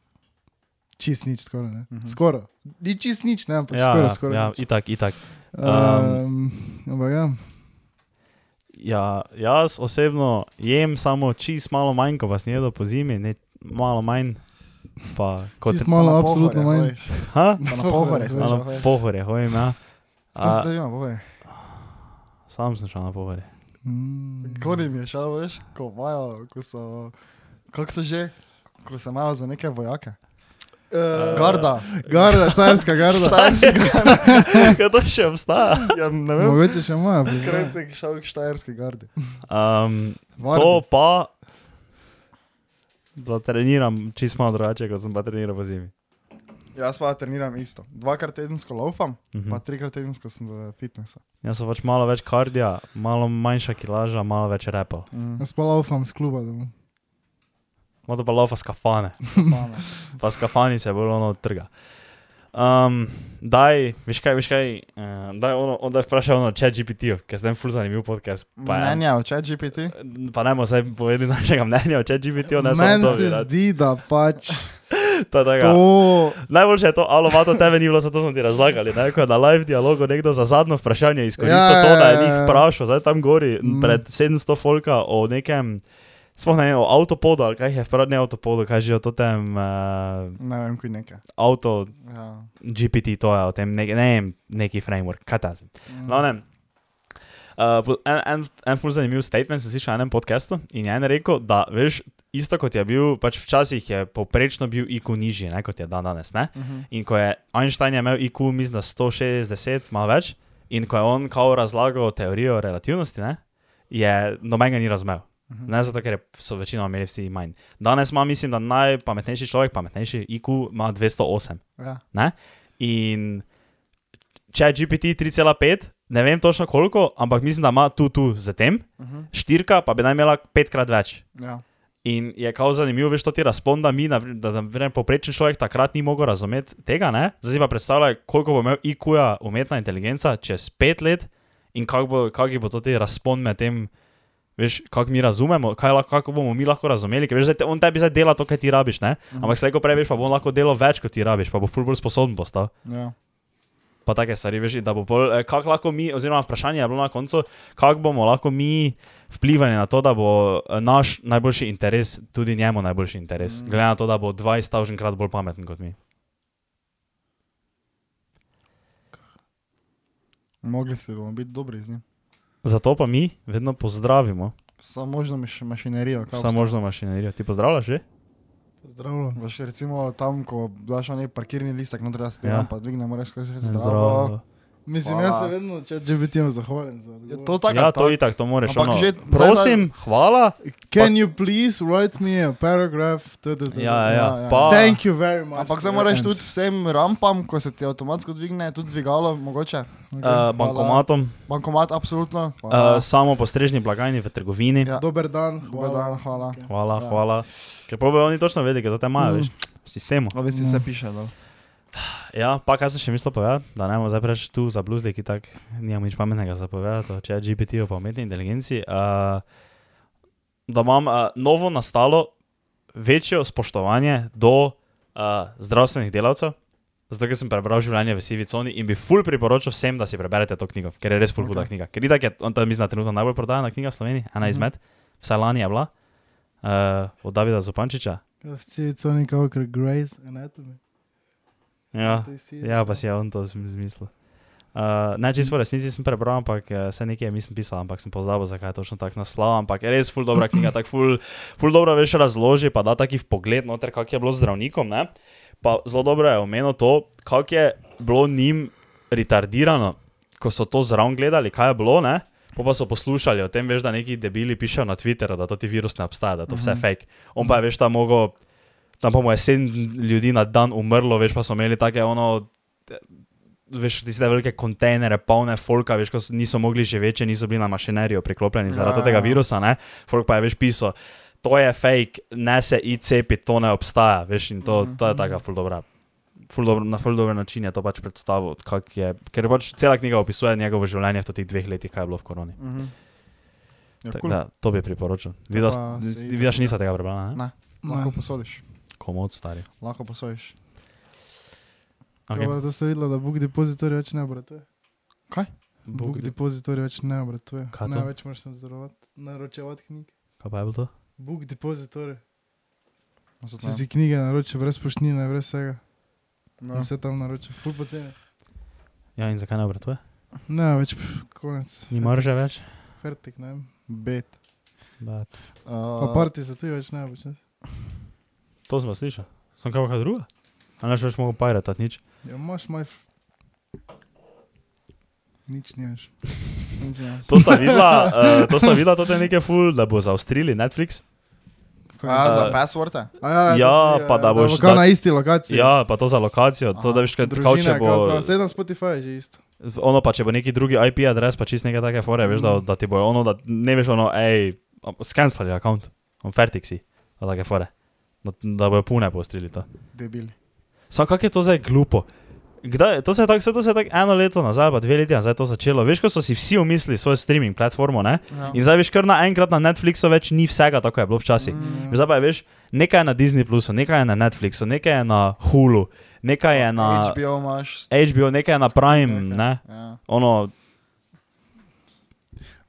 Speaker 3: Čist nič, skoraj. Ne?
Speaker 1: Mhm.
Speaker 3: Skoraj. Ni čist nič, ne, ampak
Speaker 2: Ja,
Speaker 3: skoraj.
Speaker 2: ja,
Speaker 3: skoraj
Speaker 2: ja,
Speaker 3: nič.
Speaker 2: itak, itak.
Speaker 3: Um, ampak ja.
Speaker 2: Ja, jaz osebno jem samo čist malo manj, ko vas ne jedo po zimi, ne, malo manj. Pa kot
Speaker 3: Čist
Speaker 1: Pa
Speaker 3: malo,
Speaker 1: na
Speaker 3: absolutno
Speaker 1: pohorje
Speaker 3: manj.
Speaker 1: hojiš,
Speaker 2: Ha?
Speaker 1: pa Na pohore,
Speaker 3: Skozi
Speaker 2: Na
Speaker 1: znaš.
Speaker 2: pohore, hojim, ja.
Speaker 1: Skozi
Speaker 2: A,
Speaker 1: ste vi na pohore.
Speaker 2: sam sem šel na pohore.
Speaker 3: Mm.
Speaker 1: Kod jim je šel, veš, ko imajo, ko so, kako so že, ko se imajo za neke vojake.
Speaker 3: Eh,
Speaker 1: Garda,
Speaker 3: Garda, štajerska garda.
Speaker 2: Kaj to še obstaja?
Speaker 1: ja, ne vem,
Speaker 3: Mogoče še moja. bi-
Speaker 1: krajcek šel k štajerski gardi.
Speaker 2: Um, to
Speaker 3: Vardi.
Speaker 2: pa, da treniram čist malo drugače, kot sem pa treniral po zimi.
Speaker 1: Jaz pa treniram isto. Dvakrat tedensko laufam,
Speaker 2: Mhm.
Speaker 1: pa trikrat tedensko sem v fitnesu.
Speaker 2: Jaz sem pač malo več kardija, malo manjša kilaža, malo več repov.
Speaker 1: Mm.
Speaker 3: Jaz pa laufam z kluba domov.
Speaker 2: Malo pa lova skafane,
Speaker 1: Fana.
Speaker 2: pa skafani se bolj ono trga. Um, daj, veš kaj, veš kaj, uh, daj, ono, on daj vprašaj ono, če GPT-ju, ker sem ful zanimiv podcast. Pa, je-
Speaker 1: Mnenja o chat GPT?
Speaker 2: pa ne bomo zdaj povedali našega mnenja o če GPT-ju, ne samo
Speaker 3: Meni
Speaker 2: to.
Speaker 3: se
Speaker 2: bi rad.
Speaker 3: zdi, da pač
Speaker 2: To je taka-
Speaker 3: to.
Speaker 2: Najboljše je to, ali vato tebe ni bilo, zato smo ti razlagali. Ne? Ko je na live dialogu nekdo za zadnjo vprašanje izkoristil
Speaker 3: Ja,
Speaker 2: to, da
Speaker 3: ja,
Speaker 2: je
Speaker 3: ja,
Speaker 2: njih
Speaker 3: ja.
Speaker 2: vprašal, zdaj tam gori
Speaker 3: Mm.
Speaker 2: pred 700 folka o nekem, sploh ne vem, o avtopodu ali kaj je, prav ne avtopodu, kaj že o tem uh,
Speaker 1: Ne vem, kaj nekaj.
Speaker 2: avto
Speaker 1: Ja.
Speaker 2: GPT, to je o tem, ne, ne vem, neki framework, katastrof. No, ne.
Speaker 3: Mm.
Speaker 2: Uh, po- en, en, en ful zanimiv statement sem slišal na enem podkastu in je en rekel, da veš, isto kot je bil, pač včasih je povprečno bil IQ nižji, ne, kot je dan danes. Ne?
Speaker 1: Uh -huh.
Speaker 2: In ko je Einstein je imel IQ, mislim, da 160, malo več, in ko je on kao razlagal teorijo relativnosti, ne, je nobenega ni razumel. Ne zato, ker je- so večino imeli vsi manj. Danes ima, mislim, da najpametnejši človek, pametnejši IQ, ima 208.
Speaker 1: Ja.
Speaker 2: In če je GPT 3,5, ne vem točno koliko, ampak mislim, da ima tu, tu za tem,
Speaker 1: Uh -huh.
Speaker 2: štirka pa bi naj imela petkrat več.
Speaker 1: ja.
Speaker 2: In je kao zanimivo, veš, to ti razponda mi, na pri- da na primer poprečen človek takrat ni mogel razumeti tega, ne? Zdaj si pa predstavljaj, koliko bo imel IQ-ja umetna inteligenca čez pet let in kak bo, kak ji bo to ti razpon med tem, veš, kako mi razumemo, kaj lahko, kako bomo mi lahko razumeli, ker veš, zdaj, te- on tebi zdaj dela to, kar ti rabiš, ne? Ampak slejko prej veš, pa bo on lahko delal več, kot ti rabiš, pa bo ful bolj sposoben postal.
Speaker 1: Ja.
Speaker 2: Pa take stvari, veš, in da bo bolj, eh, kako lahko mi, oziroma vprašanje je bilo na koncu, kako bomo lahko mi vplivali na to, da bo eh, naš najboljši interes tudi njemu najboljši interes. Mm. Glede na to, da bo 20.000 krat bolj pameten kot mi.
Speaker 1: Mogli se bomo biti dobri z njim.
Speaker 2: Zato pa mi vedno pozdravimo,
Speaker 1: Samo možno maš- mašinerijo.
Speaker 2: vsa možna mašinerija. Ti pozdravljaš že?
Speaker 3: Zdravljeno.
Speaker 1: Veš, recimo tam, ko daš neki parkirni listek, no, da se
Speaker 2: Ja.
Speaker 1: tam pa dvigne, moraš kaj že zdravo.
Speaker 3: Mislim,
Speaker 1: Hvala.
Speaker 3: jaz se vedno, če že bi ti imel zahvalen za
Speaker 1: Je
Speaker 3: odgovor.
Speaker 1: to tako?
Speaker 2: Ja,
Speaker 1: ali
Speaker 2: to
Speaker 1: tako?
Speaker 2: itak, to moraš.
Speaker 1: Ampak
Speaker 2: Ono,
Speaker 1: že-
Speaker 2: prosim, hvala.
Speaker 3: Can you please write me a paragraph? T, t, t, t.
Speaker 2: Ja,
Speaker 1: ja,
Speaker 2: ja,
Speaker 1: ja.
Speaker 2: pa,
Speaker 3: Thank you very much.
Speaker 1: Ampak zdaj
Speaker 3: for
Speaker 1: moraš
Speaker 3: your
Speaker 1: tudi vsem rampam, ko se ti avtomatsko dvigne, tudi dvigalo, mogoče.
Speaker 2: uh, bankomatom,
Speaker 1: Bankomat, absolutno.
Speaker 2: uh,
Speaker 1: Hvala.
Speaker 2: samo postrežni blagajni v trgovini.
Speaker 1: Ja.
Speaker 3: Dober dan, hvala.
Speaker 1: Dober dan, hvala.
Speaker 2: Hvala,
Speaker 1: Ja. Mm.
Speaker 2: hvala. Ker pa bodo oni točno vedeli, kaj za te imajo, veš, v sistemu.
Speaker 1: No, veš, vse piše. Da.
Speaker 2: Ja, pa kaj sem še mislil povedati, da ne bomo zdaj preveč tu zabluzli, ki tako nimamo nič pametnega za povedati, če je GPT o pametni inteligenci. Uh, da imam uh, novo nastalo večjo spoštovanje do uh, zdravstvenih delavcev. Zato, ker sem prebral življenje v sivi coni in bi ful priporočil vsem, da si preberete to knjigo, ker je res ful huda
Speaker 1: Ok.
Speaker 2: okay. knjiga. Ker itak je, on to je, mislim, da trenutno najbolj prodajana knjiga v Sloveniji, ena izmed, vsaj lani je bila, uh, od Davida Zupančiča.
Speaker 3: Vsi so nekako kot Grace Е, Anatomy.
Speaker 2: Ja.
Speaker 3: To je si-
Speaker 2: Ja, pa si je on to zmi- zmislil. Uh, ne, čisto v resnici sem prebral, ampak uh, se nekaj mislim pisal, ampak sem pozabil, zakaj je točno tako naslov. Ampak je res ful dobra knjiga, tako ful, ful dobro veš razloži, pa da taki pogled noter, kak je bilo zdravnikom. Ne? Pa zelo dobro je omenil to, kak je bilo njim retardirano, ko so to zraven gledali, kaj je bilo, ne? Po pa so poslušali o tem, veš, da neki debeli pišejo na Twitterju, da to ti virus ne obstaja, da je to vse mm -hmm. fake. On pa je, veš, tam mogo, tam pa mu je sedem ljudi na dan umrlo, veš, pa so imeli take ono, te- veš, tiste velike kontejnere, polne folka, veš, ko so- niso mogli živeče, niso bili na mašinerijo priklopljeni zaradi
Speaker 1: Ja,
Speaker 2: tega
Speaker 1: ja.
Speaker 2: virusa, ne? Folk pa je, veš, pisal, to je fake, ne se i cepi, to ne obstaja, veš, in to, to
Speaker 1: Mhm.
Speaker 2: je taka ful dobra ful dobro, na ful dober način je to pač predstavil, kak je, ker pač cela knjiga opisuje njegovo življenje v teh dveh letih, kaj je bilo v koroni.
Speaker 1: Mhm. Ja,
Speaker 2: Tako
Speaker 1: cool.
Speaker 2: Da, to bi priporočil.
Speaker 1: pa si-
Speaker 2: Vidiš, nista tega prebrala, ne?
Speaker 1: Ne, lahko posodiš.
Speaker 2: Komod stari.
Speaker 1: Lahko posodiš.
Speaker 3: Okay.
Speaker 2: Okay.
Speaker 3: To ste videli, da Book Depository več ne obratuje. Book,
Speaker 2: Bog,
Speaker 3: Book Depository več ne obratuje.
Speaker 2: Kaj to?
Speaker 3: Ne več moraš nadzorovati, naročevati knjig.
Speaker 2: kaj pa je bilo to?
Speaker 3: Book Depository.
Speaker 1: No, so to-
Speaker 2: Ja.
Speaker 3: Si si knjige naroči brez poštnine, brez vsega.
Speaker 1: No.
Speaker 3: No. Vse tam naroči. Ful poceni.
Speaker 2: Ja, in zakaj ne obratuje?
Speaker 3: Ne, več pf, konec.
Speaker 2: Ni marže več?
Speaker 3: Fertik, ne vem.
Speaker 1: Bet.
Speaker 2: But.
Speaker 3: Pa
Speaker 1: Uh,
Speaker 3: parti se tu več ne obratuje.
Speaker 2: To smo slišali. Sem kaj pa kaj druga? A ne, še več mogo pajrati, nič.
Speaker 3: Ja, imaš maj... f- Nič nimaš.
Speaker 1: nič ne.
Speaker 2: To sta videla, uh, to sta videla, to je nekaj ful, da bo zaostrili Netflix.
Speaker 1: A, za
Speaker 2: Eh,
Speaker 1: passworde?
Speaker 3: A ja,
Speaker 2: Ja,
Speaker 3: to si,
Speaker 2: pa da boš
Speaker 3: Kaj
Speaker 2: dat-
Speaker 3: na isti lokaciji.
Speaker 2: Ja, pa to za lokacijo, to da veš, kaj kao, če bo...
Speaker 3: Sedem Spotify je že isto.
Speaker 2: Ono pa, če bo neki drugi IP adres, pa čist nekaj take fore, veš, da, da ti bojo ono, da ne veš ono, hej, skenslali račun, on fertik si, pa take fore. Da, da bojo pune postrili to.
Speaker 1: Debili.
Speaker 2: Samo kako je to zdaj glupo? Kdaj, to se je tako tak eno leto nazaj, pa dve leti nazaj to začelo. Veš, ko so si vsi omislili svojo streaming platformo, ne?
Speaker 1: Ja.
Speaker 2: In zdaj veš, kar naenkrat na Netflixu več ni vsega, tako je bilo včasih.
Speaker 1: Mm.
Speaker 2: Zdaj pa je veš, nekaj je na Disney Plusu, nekaj je na Netflixu, nekaj je na Hulu, nekaj je na
Speaker 1: HBO imaš.
Speaker 2: HBO, nekaj je na Prime,
Speaker 1: Nekaj.
Speaker 2: ne?
Speaker 1: Ja.
Speaker 2: Ono,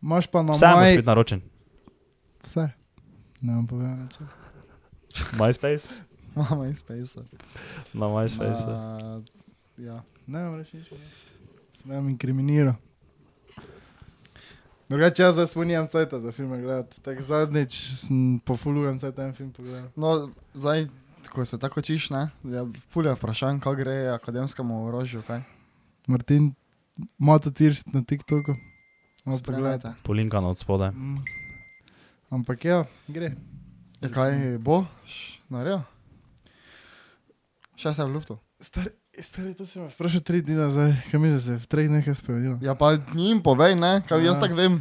Speaker 3: Imaš pa na
Speaker 2: vse moraš
Speaker 3: maj...
Speaker 2: biti naročen.
Speaker 3: Vse. Ne vam povem nič.
Speaker 2: MySpace?
Speaker 1: Mama iz Space.
Speaker 2: Na MySpace.
Speaker 1: Ja.
Speaker 3: Ne vam reči nič. Se ne vam inkriminira. Drugače, jaz zdaj spomnim cajta za filme gledati. Tako zadnjič sem pofulujem cajta en film pogledal.
Speaker 1: No, zdaj, ko se tako čiš, ne, je pulja vprašanj, kako gre akademskemu orožju, kaj?
Speaker 3: Martin, Mato Tirst na TikToku. Malo No, pogledajte.
Speaker 1: Spremljate.
Speaker 2: Polinkan od spode.
Speaker 3: Mm. Ampak ja, gre.
Speaker 1: Ja, kaj bo? Š- Naredil? Še sem v luftu.
Speaker 3: Stari, stari, e, to si me vprašal tri dni nazaj, kaj mi je se je v treh nekaj spremenilo.
Speaker 1: Ja, pa njim povej, ne, kaj jaz
Speaker 3: Ja.
Speaker 1: tako vem.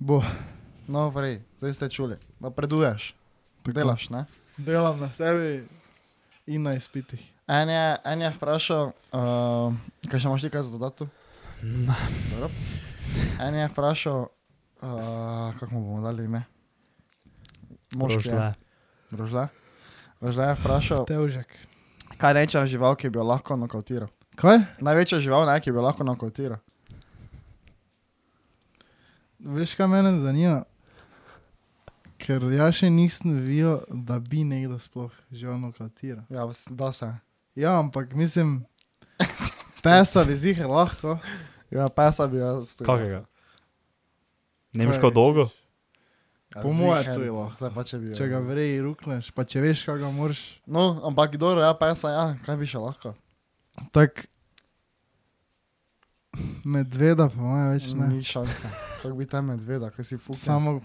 Speaker 3: Bo.
Speaker 1: No, prej, zdaj ste čuli. napreduješ, delaš. Ne?
Speaker 3: Delam na sebi in na izpitih.
Speaker 1: En je, en je vprašal, uh, kaj še imaš ti kaj za dodati? Dobro. En je vprašal, uh, kako mu bomo dali ime. Moški. je.
Speaker 2: Rožle.
Speaker 1: Rožle. Rožle je vprašal,
Speaker 3: Tevžek.
Speaker 1: kaj reče žival, ki bi jo lahko nokautiral.
Speaker 3: Kaj?
Speaker 1: Največja žival, ne, ki bi jo lahko nokautiral.
Speaker 3: Veš, kaj mene zanima? Ker jaz še nisem videl, da bi nekdo sploh živel nokatiral.
Speaker 1: Ja, s- da se.
Speaker 3: Ja, ampak mislim, pesa bi zih lahko.
Speaker 1: Ja, pesa bi jaz. tudi-
Speaker 2: Kakega?
Speaker 3: Kaj
Speaker 2: Nemško
Speaker 3: rečeš?
Speaker 2: dolgo?
Speaker 1: Ja,
Speaker 3: Po moje
Speaker 1: ziher,
Speaker 3: tudi lahko.
Speaker 1: Zdaj pa če bi. jo-
Speaker 3: Če ga v reji rukneš, pa če veš, kaj ga moraš.
Speaker 1: No, ampak kdo reja pesa, ja, kaj bi še lahko?
Speaker 3: Tak, medveda, po mojem, več ne.
Speaker 1: Mm, Ni šanse. Kako bi tam medveda, kaj si fuck.
Speaker 3: Samo,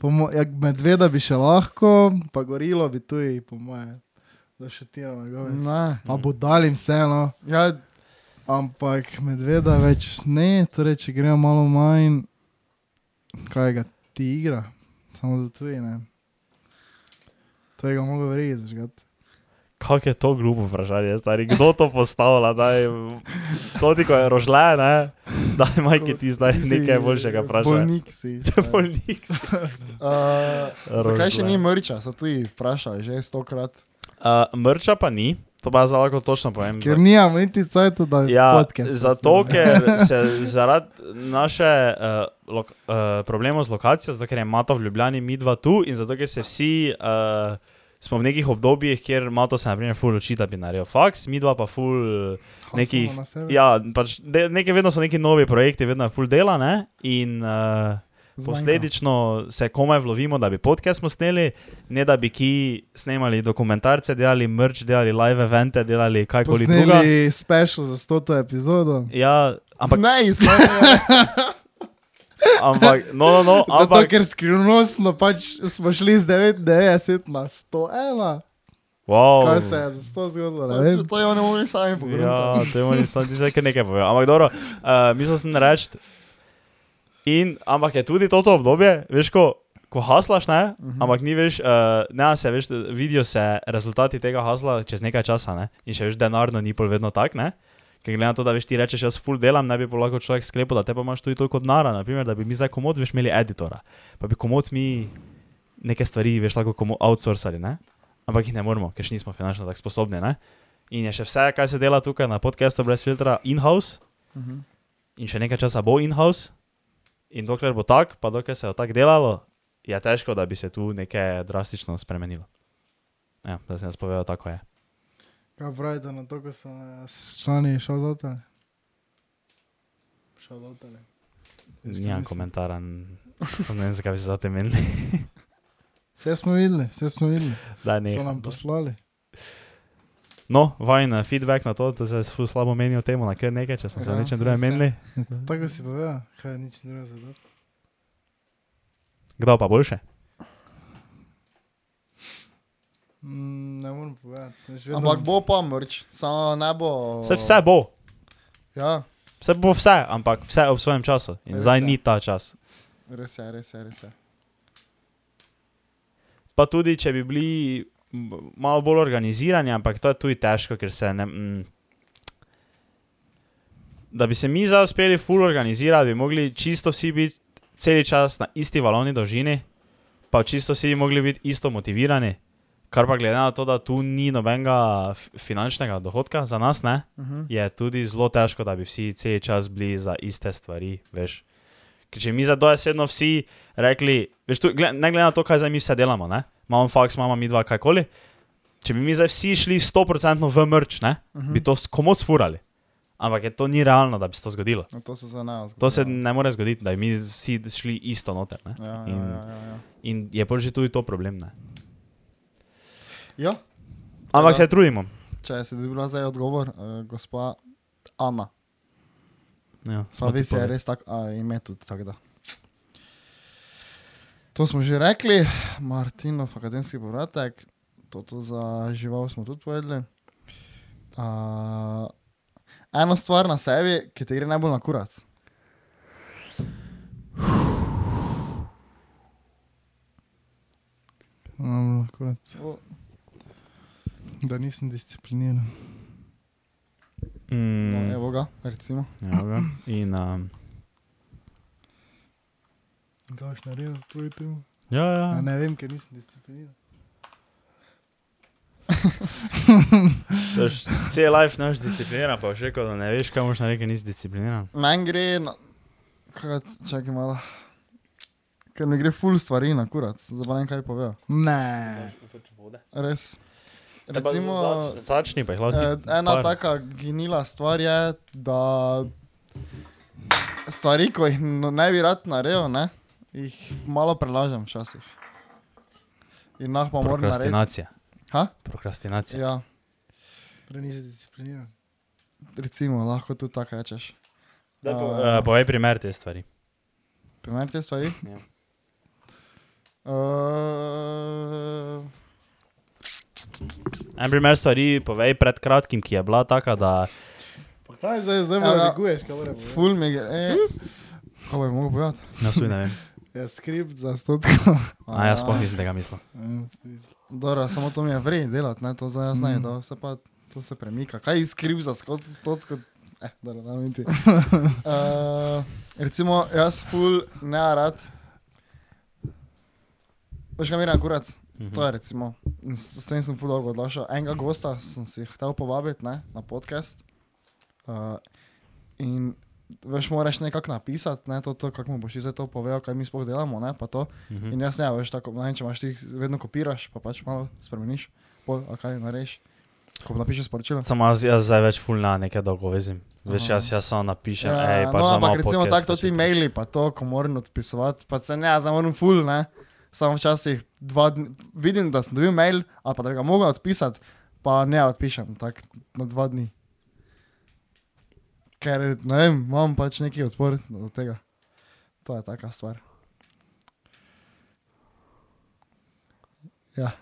Speaker 3: po mo- ja, medveda bi še lahko, pa gorilo bi tudi, po mojem, zašutil njegove.
Speaker 1: Ne.
Speaker 3: Pa bo dalim vseeno,
Speaker 1: Ja,
Speaker 3: ampak medveda več ne, torej če gremo malo manj, kaj ga ti igra, samo za tuji ne. To je ga mogo verjeti, žgat.
Speaker 2: Kak je to glupo vprašanje, stari? Kdo to postavlja? Daj, to ti, ko je rožle, ne? Daj, majki ti zdaj
Speaker 1: ti si
Speaker 2: nekaj boljšega vprašanja.
Speaker 1: Bolnik si.
Speaker 2: Bolnik.
Speaker 1: Uh, zakaj še
Speaker 2: Rožle.
Speaker 1: ni mrča, se tudi vprašaj, že stokrat.
Speaker 2: Uh, mrča pa ni, to pa zdaj lahko točno povem.
Speaker 3: Ker nijam niti cajt, da bi
Speaker 2: Ja,
Speaker 3: podcast.
Speaker 2: zato,
Speaker 3: posnel.
Speaker 2: ker se zaradi naše uh, lok, uh, problemov z lokacijo, zato ker je Mato v Ljubljani, mi dva tu in zato ker se vsi uh, smo v nekih obdobjih, kjer Mato se naprimer ful uči, da bi naredil faks, mi dva pa ful.
Speaker 3: Hostamo
Speaker 2: nekih-
Speaker 3: na sebe.
Speaker 2: Ja, pač de, neke, vedno so neki novi projekti, vedno je ful dela ne? in uh, posledično se komaj vlovimo, da bi podcast smo sneli, ne da bi ki snemali dokumentarce, delali merch, delali live evente, delali kajkoli drugega.
Speaker 3: Posneli special za 100. epizodo.
Speaker 2: Ja, ampak
Speaker 1: Ampak ne, izvajaj.
Speaker 2: Ampak, no, no, no,
Speaker 3: Zato,
Speaker 2: ampak,
Speaker 3: ker skrivnostno pač smo šli z 99 na 101.
Speaker 2: wow.
Speaker 3: Kaj se je za to zgodilo? Ne vem.
Speaker 1: To je ono, oni sami
Speaker 2: Oh. Ja,
Speaker 1: pogledali.
Speaker 2: to je moj sam, ti zdaj kar nekaj povedal. Ampak dobro, uh, mislil sem reči. In, ampak je tudi to obdobje, veš, ko, ko haslaš, ne, uh -huh. ampak ni veš, uh, ne, se veš, vidijo se rezultati tega hasla čez nekaj časa, ne, in še veš, denarno ni pol vedno tak, ne. Ker glede na to, da veš, ti rečeš, jaz full delam, ne bi pa lahko človek sklepal, da te pa imaš tudi toliko denara, naprimer, da bi mi zdaj komod, veš, imeli editora, pa bi komod mi neke stvari, veš, lahko komu outsourcali, ne. Ampak jih ne moremo, ker še nismo finančno tako sposobni, ne. In je še vse, kar se dela tukaj na podkastu brez filtra, in-house,
Speaker 1: Mhm.
Speaker 2: in še nekaj časa bo in-house. In dokler bo tako, pa dokler se je tako delalo, je težko, da bi se tu nekaj drastično spremenilo. Ja, da sem jaz povedal, tako je.
Speaker 3: Kaj pravite na to, ko so eh, s člani šalotele? Šalotele.
Speaker 2: Nijem komentarja, n- ne vem, zakaj bi se zate menili.
Speaker 3: Vse smo videli, vse smo videli.
Speaker 2: Da,
Speaker 3: Ne, so
Speaker 2: ne.
Speaker 3: nam poslali.
Speaker 2: No, vajen eh, feedback na to, da se ful slabo menijo temu, na kar nekaj, če smo se o
Speaker 3: Ja,
Speaker 2: nečem drugem
Speaker 3: vse.
Speaker 2: menili.
Speaker 3: Tako si povedal, kaj je nič drugega za to.
Speaker 2: Kdo pa boljše?
Speaker 3: Mm, ne morem povedati. Veš, vedno-
Speaker 1: Ampak bo pa mrč, samo ne bo.
Speaker 2: Vse, vse bo,
Speaker 1: Ja,
Speaker 2: vse bo vse, ampak vse ob svojem času. In
Speaker 1: Res
Speaker 2: zdaj
Speaker 1: je.
Speaker 2: ni ta čas.
Speaker 1: res je, res je, res je.
Speaker 2: Pa tudi, če bi bili m, malo bolj organizirani, ampak to je tudi težko, ker se ne. Mm, da bi se mi zdaj uspeli ful organizirati, bi mogli čisto vsi biti cel čas na isti valovni dolžini, pa čisto vsi bi mogli biti isto motivirani. Kar pa glede na to, da tu ni nobenega f- finančnega dohodka za nas, ne,
Speaker 1: Uh -huh.
Speaker 2: je tudi zelo težko, da bi vsi cel čas bili za iste stvari, veš. Ker če mi za dojesedno vsi rekli, veš, tu, gled, ne glede na to, kaj zdaj mi vse delamo, ne? imamo faks, imamo mi dva, kajkoli. Če bi mi zdaj vsi šli 100% v mrč, ne?
Speaker 1: Uh
Speaker 2: bi to komu sfurali. Ampak je to ni realno, da bi se to zgodilo.
Speaker 1: No, to se za nas.
Speaker 2: To se ne more zgoditi, da bi mi vsi šli isto noter. Ne?
Speaker 1: Ja, ja,
Speaker 2: In,
Speaker 1: ja, ja, ja.
Speaker 2: in je pač že tudi to problem. Ne?
Speaker 1: ja,
Speaker 2: Ampak
Speaker 1: Ja.
Speaker 2: se trudimo.
Speaker 1: če si dobila zdaj odgovor, uh, gospa Ana.
Speaker 2: Ja,
Speaker 1: Sva
Speaker 2: ti
Speaker 1: res je
Speaker 2: povedali.
Speaker 1: res tako, a ime tudi tako da. To smo že rekli, Martinov akademski povratek, toto za žival smo tudi povedali. Uh, eno stvar na sebi, ki te gre najbolj na kurac.
Speaker 3: konec. Da nisem discipliniran.
Speaker 1: No,
Speaker 2: Mm,
Speaker 1: evo ga, recimo.
Speaker 2: evo ga. In, um,
Speaker 3: Kaj še naredil, proti temu?
Speaker 2: ja,
Speaker 3: Ja,
Speaker 2: ja.
Speaker 3: ne vem, ker nisem discipliniran.
Speaker 2: Veš, Cel life ne veš discipliniran, pa še kot da ne veš, kaj moraš narediti, nisi discipliniran.
Speaker 1: Meni gre, na... kaj, čakaj malo. Ker mi gre full stvari na kurac, zdaj pa ne vem, kaj povejo.
Speaker 3: Ne.
Speaker 1: Res. Recimo,
Speaker 2: Začni pa jih lahko.
Speaker 1: eh,
Speaker 2: ti
Speaker 1: ena
Speaker 2: par-
Speaker 1: taka gnila stvar je, da stvari, ko jih no- ne bi rad naredil, ne, jih malo prelažem včasih. In nah pa moram narediti.
Speaker 2: Prokrastinacija.
Speaker 1: Ha?
Speaker 2: Prokrastinacija.
Speaker 1: Ja,
Speaker 3: Prej nisem discipliniran.
Speaker 1: recimo, lahko tudi tako rečeš.
Speaker 2: Daj po-
Speaker 1: Eh,
Speaker 2: eh, Povej primer te stvari.
Speaker 1: Primer te stvari?
Speaker 2: Ja.
Speaker 1: Uh,
Speaker 2: En primer stvari povej pred kratkim, ki je bila taka, da
Speaker 3: Pa kaj zdaj, zdaj
Speaker 1: Evo,
Speaker 3: malo
Speaker 1: ja.
Speaker 3: neguješ, kaj mora biti?
Speaker 1: ful mi gre. eh.
Speaker 3: Hm?
Speaker 1: Kaj bi mogel povedati?
Speaker 2: ne vsi No, ne vem.
Speaker 3: Ja, skript za stotko.
Speaker 2: A jaz sploh nisem tega mislil.
Speaker 1: Dobro, samo to mi je vrej delati, ne, to zdaj jaz ne,
Speaker 3: Mm.
Speaker 1: da se pa to se premika. Kaj skriv za stotko? Eh, dobro, da mi ti. Uh, recimo, jaz ful ne rad. Veš, kam miren kurac?
Speaker 2: Mhm.
Speaker 1: To je recimo, in s, s tem sem ful dolgo odlašal. Enega gosta sem si hotel povabiti ne, na podcast. Uh, in veš, moraš nekako napisati, ne, to, to, kako mu boš ti zdaj to povedal, kaj mi sploh delamo, ne, pa to.
Speaker 2: Mhm.
Speaker 1: In jaz ne, veš, tako, ne, vem, če imaš ti, vedno kopiraš, pa pač malo spremeniš, pol, a kaj narediš, ko napišeš sporočilo.
Speaker 2: Samo jaz, jaz zdaj več ful na nekaj dolgo vezim. Veš,
Speaker 1: Aha.
Speaker 2: jaz, jaz samo napišem, ja,
Speaker 1: Ja,
Speaker 2: hej, pač
Speaker 1: no,
Speaker 2: da
Speaker 1: ampak
Speaker 2: imamo
Speaker 1: recimo
Speaker 2: podcast,
Speaker 1: tako
Speaker 2: pač
Speaker 1: ti
Speaker 2: je-
Speaker 1: maili, pa to, ko moram odpisovati, pa se ne, zdaj moram full, ne, samo včasih dva dni, vidim, da sem dobil mail, ali pa da bi ga mogel odpisati, pa ne odpišem, tako na dva dni. Ker, ne vem, imam pač neki odpor do tega. To je taka stvar.
Speaker 2: Ja.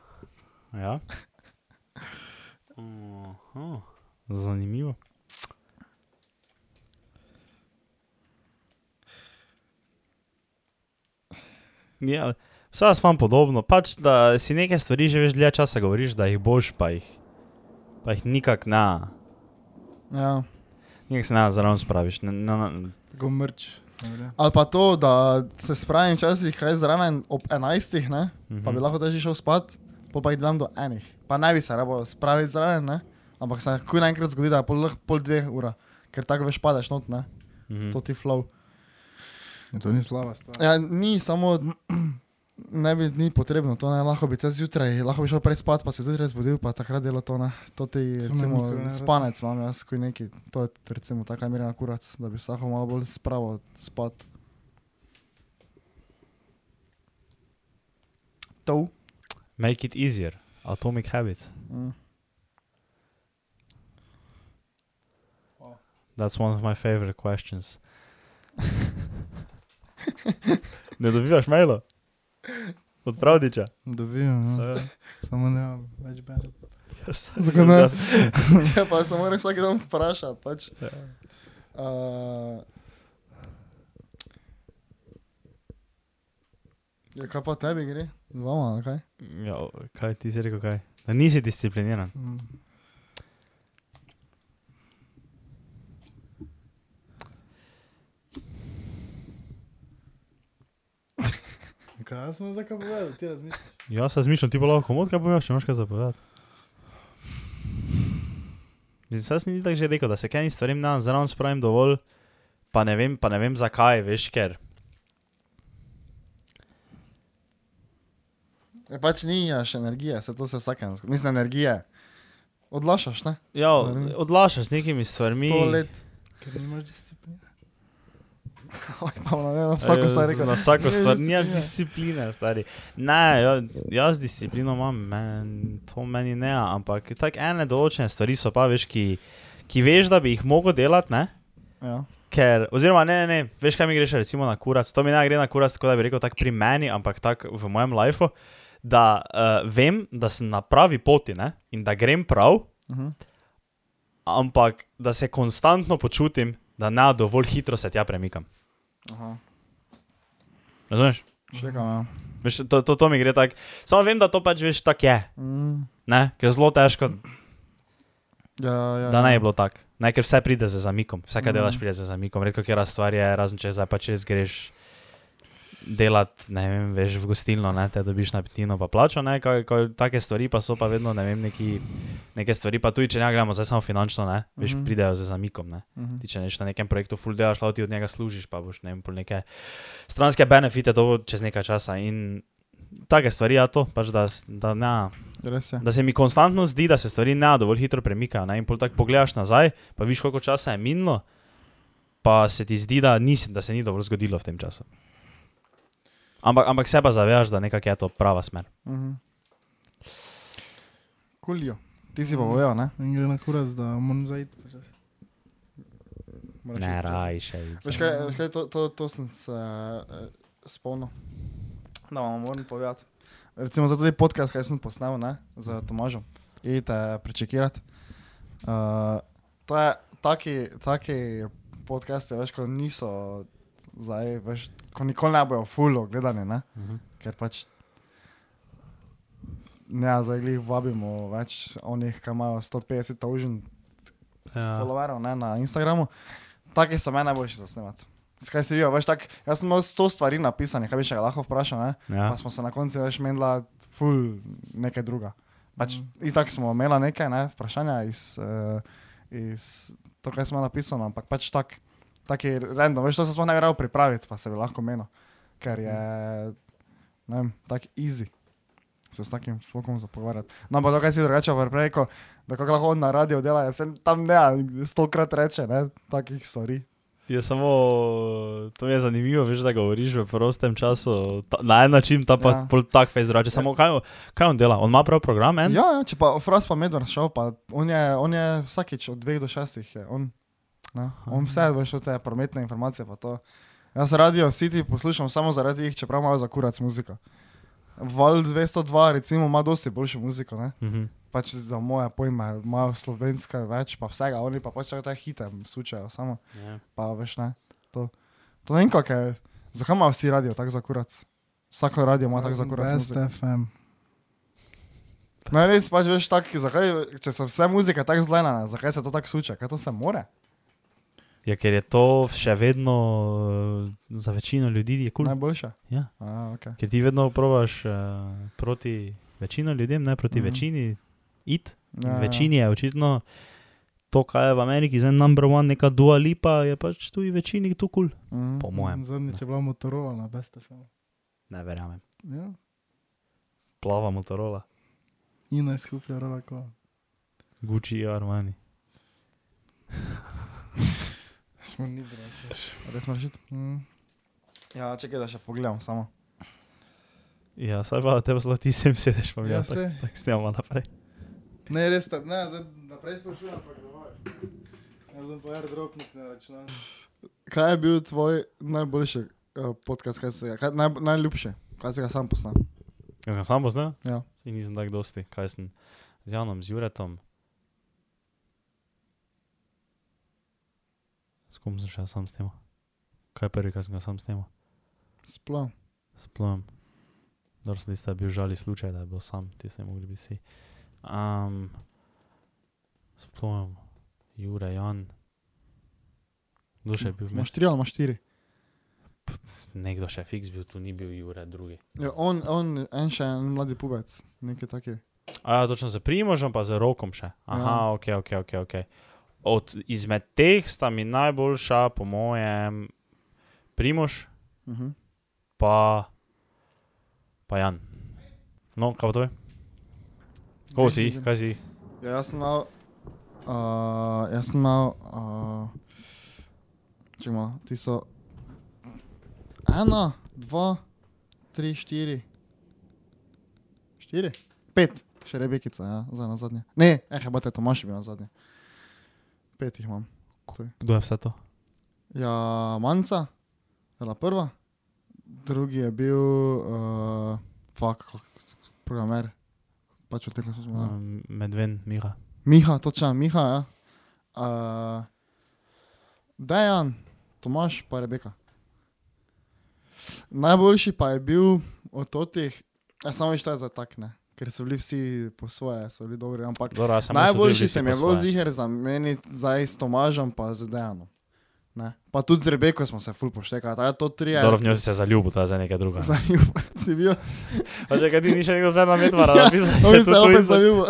Speaker 2: Aha, zanimivo. Ja, vse jaz imam podobno. Pač, da si nekaj stvari že veš dlje časa govoriš, da jih boš, pa jih, pa jih nikak ne,
Speaker 1: Ja.
Speaker 2: nikak se ne zraven spraviš. Ne, ne, ne.
Speaker 3: Tako mrč. Dobre.
Speaker 1: Ali pa to, da se spravim včasih kaj zraven ob 11, ne? pa bi
Speaker 2: Mhm.
Speaker 1: lahko težko šel spat, pol pa jih delam do enih. Pa naj bi se rabo spraviti zraven, ne? ampak se kuj naenkrat zgodi, da je pol, lahko pol dveh ura, ker tako veš padeš not, ne?
Speaker 2: Mhm.
Speaker 1: to ti flow.
Speaker 3: Ja, to ni slaba stvar.
Speaker 1: Ja, ni samo, ne bi ni potrebno, to ne, lahko bi te zjutraj, lahko bi šel prej spat, pa se zjutraj zbudil, pa takrat delo to ne. To ti
Speaker 3: me
Speaker 1: recimo
Speaker 3: nikoli ne rad.
Speaker 1: spanec imam jaz kuj neki, to je recimo taka mirna kurac, da bi vsako malo bolj spravo spat. To.
Speaker 2: Make it easier. Atomic habits.
Speaker 1: Mm.
Speaker 2: That's one of my favorite questions. ne dobivaš mailov? Od pravdiča?
Speaker 3: Dobivam, ja. samo ne imam več bed.
Speaker 1: Zakaj ne? Če Ja, pa se moraš vsak dan vprašati. Pač.
Speaker 2: Ja.
Speaker 1: Uh, ja, kaj pa tebi gre? Dvama, ali kaj?
Speaker 2: Ja, o, kaj ti si rekel, kaj? Da nisi discipliniran.
Speaker 3: Mm. Kaj jaz sem zdaj kaj povedal, ti razmišljaš?
Speaker 2: Jaz se zmišljam, ti pa lahko komod kaj pojaš, če imaš kaj zapovedati. Mislim, saj sem tako že rekel, da se kaj stvarem na zraven spravim dovolj, pa ne vem, pa ne vem zakaj, veš, ker.
Speaker 1: E, pač nimaš energije, se to se vsakem zgodi. Mislim, energije. Odlašaš, ne?
Speaker 2: Ja,
Speaker 1: Stvarmi.
Speaker 2: odlašaš z nekimi stvarmi.
Speaker 1: Sto let.
Speaker 3: Ker nimaš discipline.
Speaker 1: Oj, pa ne vem, vsako
Speaker 2: Eh,
Speaker 1: stvar
Speaker 2: z-
Speaker 1: rekel. ja."
Speaker 2: Na vsako
Speaker 3: Nimaš
Speaker 2: stvar, nimaš
Speaker 3: discipline.
Speaker 2: discipline, stari. Ne, ja- jaz disciplino imam, men, to meni ne, ampak tako ene določene stvari so pa, veš, ki, ki veš, da bi jih mogel delati, ne?
Speaker 1: Ja.
Speaker 2: Ker, oziroma, ne, ne, ne, veš, kaj mi greš, recimo na kurac. To mi ne gre na kurac, tako da bi rekel, tako pri meni, ampak tako v mojem lifeu, da uh, vem, da sem na pravi poti ne? in da grem prav,
Speaker 1: Uh -huh.
Speaker 2: ampak da se konstantno počutim, da ne dovolj hitro se tja premikam.
Speaker 1: Aha,
Speaker 2: Razumeš?
Speaker 1: še kam. Ja.
Speaker 2: Veš, to, to, to mi gre tako. Samo vem, da to pač veš, tako je.
Speaker 1: Mm,
Speaker 2: Ne? Ker je zelo težko,
Speaker 1: ja, ja,
Speaker 2: da ne
Speaker 1: ja.
Speaker 2: je bilo tako. Ne, ker vse pride z zamikom, vse, kar
Speaker 1: Mhm.
Speaker 2: delaš, pride z zamikom. Redko, kjer stvar je, razen če zdaj pač res greš delati, ne vem, veš v gostilno, ne, te dobiš napitino, pa plačo, ne, kaj, kaj, take stvari pa so pa vedno, ne vem, neki, neke stvari, pa tudi če ne gledamo zdaj samo finančno, ne, veš,
Speaker 1: Mhm.
Speaker 2: pridejo z zamikom, ne.
Speaker 1: Mhm.
Speaker 2: Ti, če neš na nekem projektu full delaš, lahko ti od njega služiš, pa boš ne vem, pol neke stranske benefite dobil čez nekaj časa. In take stvari, ja, to pač, da, s- da, ne,
Speaker 1: Res je.
Speaker 2: da se mi konstantno zdi, da se stvari ne dovolj hitro premikajo. Ne? In pol tako pogledaš nazaj, pa viš, koliko časa je minilo, pa se ti zdi, da, nisi, da se ni dovolj zgodilo v tem času. Ampak, ampak se pa zavedaš, da nekako je to prava smer.
Speaker 1: Mhm. Kulijo. Ti si pa
Speaker 3: Mhm.
Speaker 1: bojo, ne?
Speaker 3: In gre na kurac, da moram zaiti. počasi.
Speaker 1: Moraš
Speaker 2: Ne,
Speaker 1: iti čez.
Speaker 2: raj še. Ica.
Speaker 1: Veš kaj, veš kaj to, to, to sem se uh, spomnil. Da vam moram povedati. Recimo za tudi podcast, kaj sem posnel ne, z Tomažem. Idite prečekirati. Uh, to je taki, taki podcasti, veš, ko niso zdaj, veš, ko nikoli ne bojo fullo gledani, ne,
Speaker 2: Mhm.
Speaker 1: ker pač ne, zdaj jih vabimo več onih, ki imajo 150 taužen
Speaker 2: Ja.
Speaker 1: followerov ne, na Instagramu. Take so meni najboljši za snemati. Skaj si videl, veš, tak, jaz sem imel sto stvari napisanih, kaj bi še lahko vprašal, ne?
Speaker 2: Ja.
Speaker 1: pa smo se na koncu več menila ful nekaj druga. Pač, mm. Itak smo imela nekaj ne, vprašanja iz, uh, iz to, kaj smo napisali, ampak pač tak, taki random, veš, to se smo ne verjel pripraviti, pa se bi lahko menil, ker je, ne vem, tak easy. Se s takim fokom zapogovarjati. No, pa to, kaj si drugače pa prej rekel, da kako lahko on na radio dela, jaz sem tam ne, stokrat reče, ne, takih stvari.
Speaker 2: Je samo, to mi je zanimivo, veš, da govoriš v prostem času, ta, na en način, ta pa
Speaker 1: Ja.
Speaker 2: ja. pol tak fejs drugače. Samo kaj, on- kaj on dela? On ima prav program, en?
Speaker 1: Ja, ja, če pa Fras pa Medvard šel, pa on je, on je vsakič od dveh do šestih. Je, on, ne, on vse veš od te prometne informacije. pa to. Jaz radio City poslušam samo zaradi jih, čeprav imajo za kurac muziko. Val 202 recimo ima dosti boljšo muziko, ne?
Speaker 2: Mhm.
Speaker 1: pač za moje pojme, imajo slovenska več, pa vsega, oni pa pač tako hite sučajo samo,
Speaker 2: Ja.
Speaker 1: pa veš ne. To, to ne vem kako je, zakaj imajo vsi radio tako za kurac? Vsako radio ima tako za kurac.
Speaker 3: Best
Speaker 1: muziko.
Speaker 3: FM.
Speaker 1: No, res pač veš, tak, zakaj, če se vse muzika tako zlena, zakaj se to tako suče, kaj to se more?
Speaker 2: Ja, ker je to še vedno eh, za večino ljudi je kul.
Speaker 1: Cool.
Speaker 2: Cool.
Speaker 1: Najboljše.
Speaker 2: Ja.
Speaker 1: A, okay.
Speaker 2: Ker ti vedno probaš uh, proti večino ljudem, ne proti
Speaker 1: Mhm.
Speaker 2: mhm. večini it.
Speaker 1: ja,
Speaker 2: Ja, večini je očitno to, kar je v Ameriki zdaj number one, neka dua lipa, je pač tudi večini tu kul. Cool.
Speaker 1: Ja. Mm.
Speaker 2: Po mojem.
Speaker 3: Zadnjič je bila Motorola na Best FM.
Speaker 2: Ne verjamem.
Speaker 3: Ja.
Speaker 2: Plava Motorola,
Speaker 3: In najskuplja rola kola.
Speaker 2: Gucci, Armani.
Speaker 3: Smo ni drugače.
Speaker 1: Res moraš iti.
Speaker 3: Mm.
Speaker 1: Ja, čekaj, da še pogledam samo.
Speaker 2: Ja, saj pa te zelo ti sem sedeš, pa mi
Speaker 3: Ja,
Speaker 2: ja, tako
Speaker 3: saj.
Speaker 2: tak snemamo naprej.
Speaker 3: Ne, res, ta, ne, zdaj naprej sprašujem, ampak dovolj. Jaz sem pa airdropnik na računalniku.
Speaker 1: Kaj je bil tvoj najboljši uh, podcast, kaj se ga, kaj, naj, najljubši, kaj se ga sam poznam?
Speaker 2: Jaz sem samo znal?
Speaker 1: Ja.
Speaker 2: Saj nisem tako dosti, kaj sem z Janom, z Juretom. S kom sem še sam snimal? Kaj je prvi, kaj sem ga sam snimal?
Speaker 1: Sploh.
Speaker 2: Sploh. Dobro, sem tiste bil žali slučaj, da je bil sam, ti se mogli bi si. Um, Sploh, Jure, Jan. Kdo še je bil
Speaker 1: Imaš
Speaker 2: vmes?
Speaker 1: tri ali imaš štiri?
Speaker 2: Nekdo še fiks bil, tu ni bil Jure, drugi.
Speaker 1: Ja, on, on, en še en mladi pubec, nekaj takega.
Speaker 2: A, ja, točno za primožem, pa za rokom še.
Speaker 1: Ja.
Speaker 2: Aha, ok, ok, ok. okay. Od, izmed teh sta mi najboljša, po mojem, primož,
Speaker 1: Uh -huh.
Speaker 2: pa, pa Jan. No, kaj pa to je? Kako si, kaj si?
Speaker 1: Ja, jaz sem imel, uh, jaz sem imel, uh, če imamo, ti so ena, dva, tri, štiri, štiri, pet, še rebekica, ja, za na zadnje. Ne, eh, bate, Tomaš je bil na zadnje. Pet jih imam.
Speaker 2: Kdo je vse to?
Speaker 1: Ja, manca, je bila prva, drugi je bil, uh, fuck, kako- programer, pač od tega smo. Ja.
Speaker 2: Um, Medven, Miha.
Speaker 1: Miha, točno, Miha. Ja. Uh, Dejan, Tomaš, pa Rebeka. Najboljši pa je bil ototih, ja, samo veš, to je za tak, ne. Ker so bili vsi po svoje, so bili dobri, ampak
Speaker 2: Dobro, samo so
Speaker 1: Najboljši
Speaker 2: bili
Speaker 1: se mi
Speaker 2: vsi
Speaker 1: je
Speaker 2: po
Speaker 1: bilo
Speaker 2: svoje.
Speaker 1: ziger zameniti zdaj s Tomažem, pa z Dejanom. Ne? Pa tudi z Rebeko smo se ful poštekali, ta je to trije.
Speaker 2: Dobro, v njo si se zaljubil, to je za nekaj drugega.
Speaker 1: Zanimivo, si bil.
Speaker 2: Pa če ga ti ni še nekdo zdaj na medvara, da Ja, bi se
Speaker 1: on Ja, se je
Speaker 2: tudi
Speaker 1: opet
Speaker 2: za-
Speaker 1: zaljubil.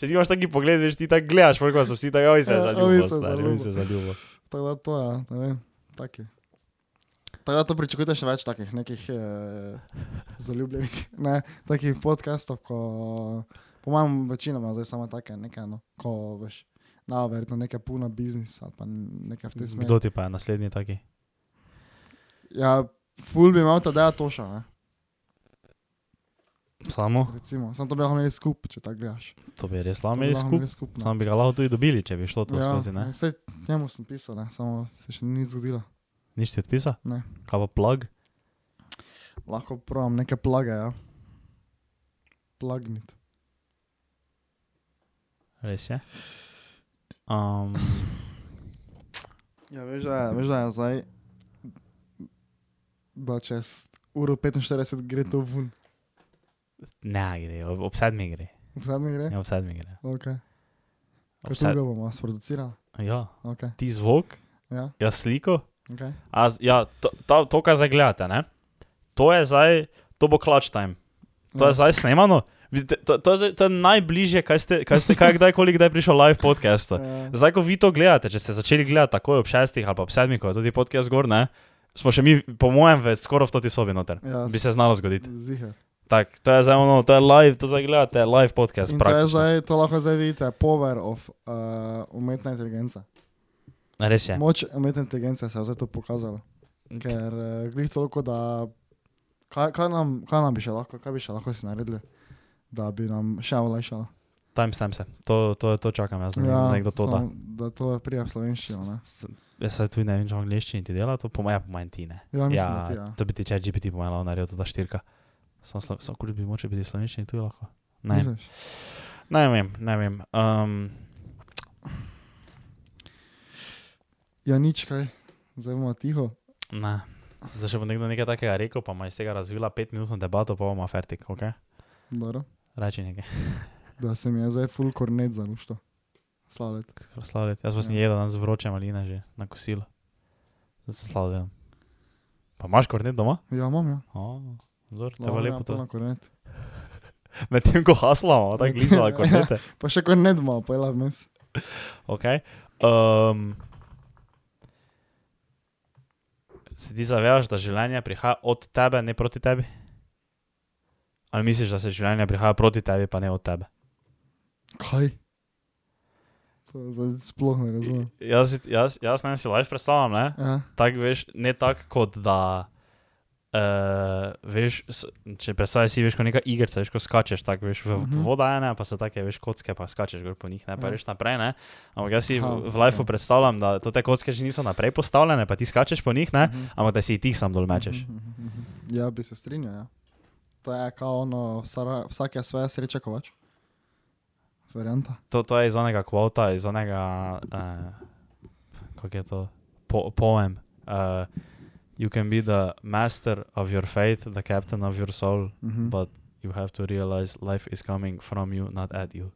Speaker 2: Če ti imaš taki pogled, veš, ti tako gledaš, prvo so vsi tako, oj se je
Speaker 1: Ja,
Speaker 2: zaljubil,
Speaker 1: ovi se
Speaker 2: stari,
Speaker 1: zaljubil.
Speaker 2: oj se je zaljubil.
Speaker 1: Tako da to je, ne vem, taki. Tako da to pričakujete še več takih nekih eh, zaljubljenih, ne, takih podcastov, ko, po mojem, večinoma zdaj samo take, nekaj, no, ko veš, na verjetno nekaj puna biznisa ali pa nekaj v tej smeri.
Speaker 2: Kdo ti pa je naslednji taki?
Speaker 1: Ja, ful bi imel tada toša, ne.
Speaker 2: Samo,
Speaker 1: Recimo, sem to bil imel skupaj, če tako gledaš.
Speaker 2: to bi res
Speaker 1: To
Speaker 2: lahko
Speaker 1: bi
Speaker 2: imeli
Speaker 1: lahko no.
Speaker 2: skupaj.
Speaker 1: skupno.
Speaker 2: Sam bi ga lahko tudi dobili, če bi šlo to
Speaker 1: Ja,
Speaker 2: skozi, ne?
Speaker 1: Vse njemu sem pisal, ne? samo se še ni nič zgodilo.
Speaker 2: Nič ti odpisa?
Speaker 1: Ne.
Speaker 2: Kaj pa plug?
Speaker 1: Lahko pravim neke plage, ja. Plagnit.
Speaker 2: Res je. Um,
Speaker 1: Ja, veš, da je, veš, da je zdaj, da čez uro 45 gre to ven.
Speaker 2: ne gre, ob, ob sedmi gre.
Speaker 1: Vse mi gre?
Speaker 2: Ja, ob sedmi gre.
Speaker 1: Ok.
Speaker 2: Ob
Speaker 1: Kako
Speaker 2: sed...
Speaker 1: ga bomo sproducirali?
Speaker 2: Ja,
Speaker 1: Ok,
Speaker 2: ti zvok,
Speaker 1: ja,
Speaker 2: jaz sliko.
Speaker 1: ok.
Speaker 2: A, z- ja, to, to, to kar zdaj gledate, ne? To je zdaj, to bo clutch time. To
Speaker 1: ja.
Speaker 2: je zdaj snemano. Vidite, To, to, je zdaj, to je najbližje, kaj ste, kaj ste kaj, kdajkoli kdaj prišel live podcastu.
Speaker 1: Ja.
Speaker 2: Zdaj, ko vi to gledate, če ste začeli gledati takoj ob šestih ali pa ob sedmih, ko je tudi podcast zgor, ne, smo še mi, po mojem, več skoraj v toti sobi noter.
Speaker 1: Ja,
Speaker 2: Bi se znalo zgoditi.
Speaker 1: Zihar.
Speaker 2: Tak, to je zdaj ono, to je live, to zdaj gledate, live podcast.
Speaker 1: In to, je
Speaker 2: praktično.
Speaker 1: zdaj, to lahko zdaj vidite, power of uh, umetna inteligenca.
Speaker 2: Res je.
Speaker 1: Moč umetne inteligence se je zdaj to pokazalo.
Speaker 2: Mm.
Speaker 1: Ker uh, glih toliko, da kaj, kaj, nam, kaj nam bi še lahko, kaj bi še lahko si naredili, da bi nam še olajšalo.
Speaker 2: Timestamp se. To, to, to čakam, jaz ne vem, ja, nekdo to da.
Speaker 1: samo, da to je prija v slovenščino. Ne?
Speaker 2: S- s- Jaz se tudi ne vem, če v angleščini ti dela, to pomaja po manj ti ne.
Speaker 1: Ja, mislim, ja.
Speaker 2: Ja,
Speaker 1: da ti ja.
Speaker 2: to bi ti če GPT pomagalo, naredil to da štirka. Sam slo- sam kul bi moče biti v slovenščini tudi lahko. Ne,
Speaker 1: Misliš?
Speaker 2: ne vem, ne vem. Um,
Speaker 1: Ja, nič kaj, zdaj bomo tiho.
Speaker 2: ne. Zdaj, če bo nekdo nekaj takega rekel, pa ima iz tega razvila petminutno debato, pa bomo fertik, ok?
Speaker 1: Dobro.
Speaker 2: Reči nekaj.
Speaker 1: Da se mi je zdaj full kornet za nušto. Slavljet.
Speaker 2: Slavljati. Jaz pa sem
Speaker 1: Ja.
Speaker 2: jedel danes vroče maline že na kosilo. Slavljam. Pa imaš kornet doma?
Speaker 1: Ja, imam ja.
Speaker 2: O, Zor, te bo
Speaker 1: Lahko
Speaker 2: lepo
Speaker 1: grem
Speaker 2: to.
Speaker 1: na kornet.
Speaker 2: Medtem ko haslamo, tako glizava kornete.
Speaker 1: Pa še kornet bomo, pa je lav mes.
Speaker 2: Okay. Um, se ti zavedaš, da življenje prihaja od tebe, ne proti tebi? Ali misliš, da se življenje prihaja proti tebi, pa ne od tebe?
Speaker 1: Kaj? To zdaj sploh ne razumem.
Speaker 2: Mm. Jaz, si- jaz, jaz ne si laž predstavljam, ne?
Speaker 1: Ja.
Speaker 2: Tako veš, ne tako kot da. Uh, veš, s- če predstavljaš si, veš, kot neka igrica, veš, ko skačeš, tako veš, v,
Speaker 1: Mhm.
Speaker 2: v voda ena, pa so take, veš, kocke, pa skačeš gor po njih, ne,
Speaker 1: Ja.
Speaker 2: pa reš naprej, ne. Ampak jaz si v,
Speaker 1: Aha,
Speaker 2: v
Speaker 1: ja.
Speaker 2: lifeu predstavljam, da to te kocke že niso naprej postavljene, pa ti skačeš po njih, ne,
Speaker 1: Mhm.
Speaker 2: ampak da si jih ti sam dol mečeš.
Speaker 1: Mhm, mhm, mhm. Ja, bi se strinjal. Ja. To je kao ono, vsara- vsak je svoje sreče, kovač. Varianta.
Speaker 2: To, to je iz onega kvota, iz onega, uh, kako je to, po, poem. Uh, you can be the master of your faith, the captain of your soul,
Speaker 1: Mhm.
Speaker 2: But you have to realize life is coming from you, not at you.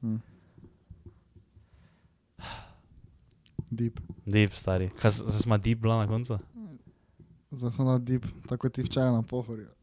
Speaker 1: Deep.
Speaker 2: Deep, stari. Kaj s- zdaj smo deep bila na koncu?
Speaker 1: Zdaj sem na deep, tako kot ti včeraj na pohorju.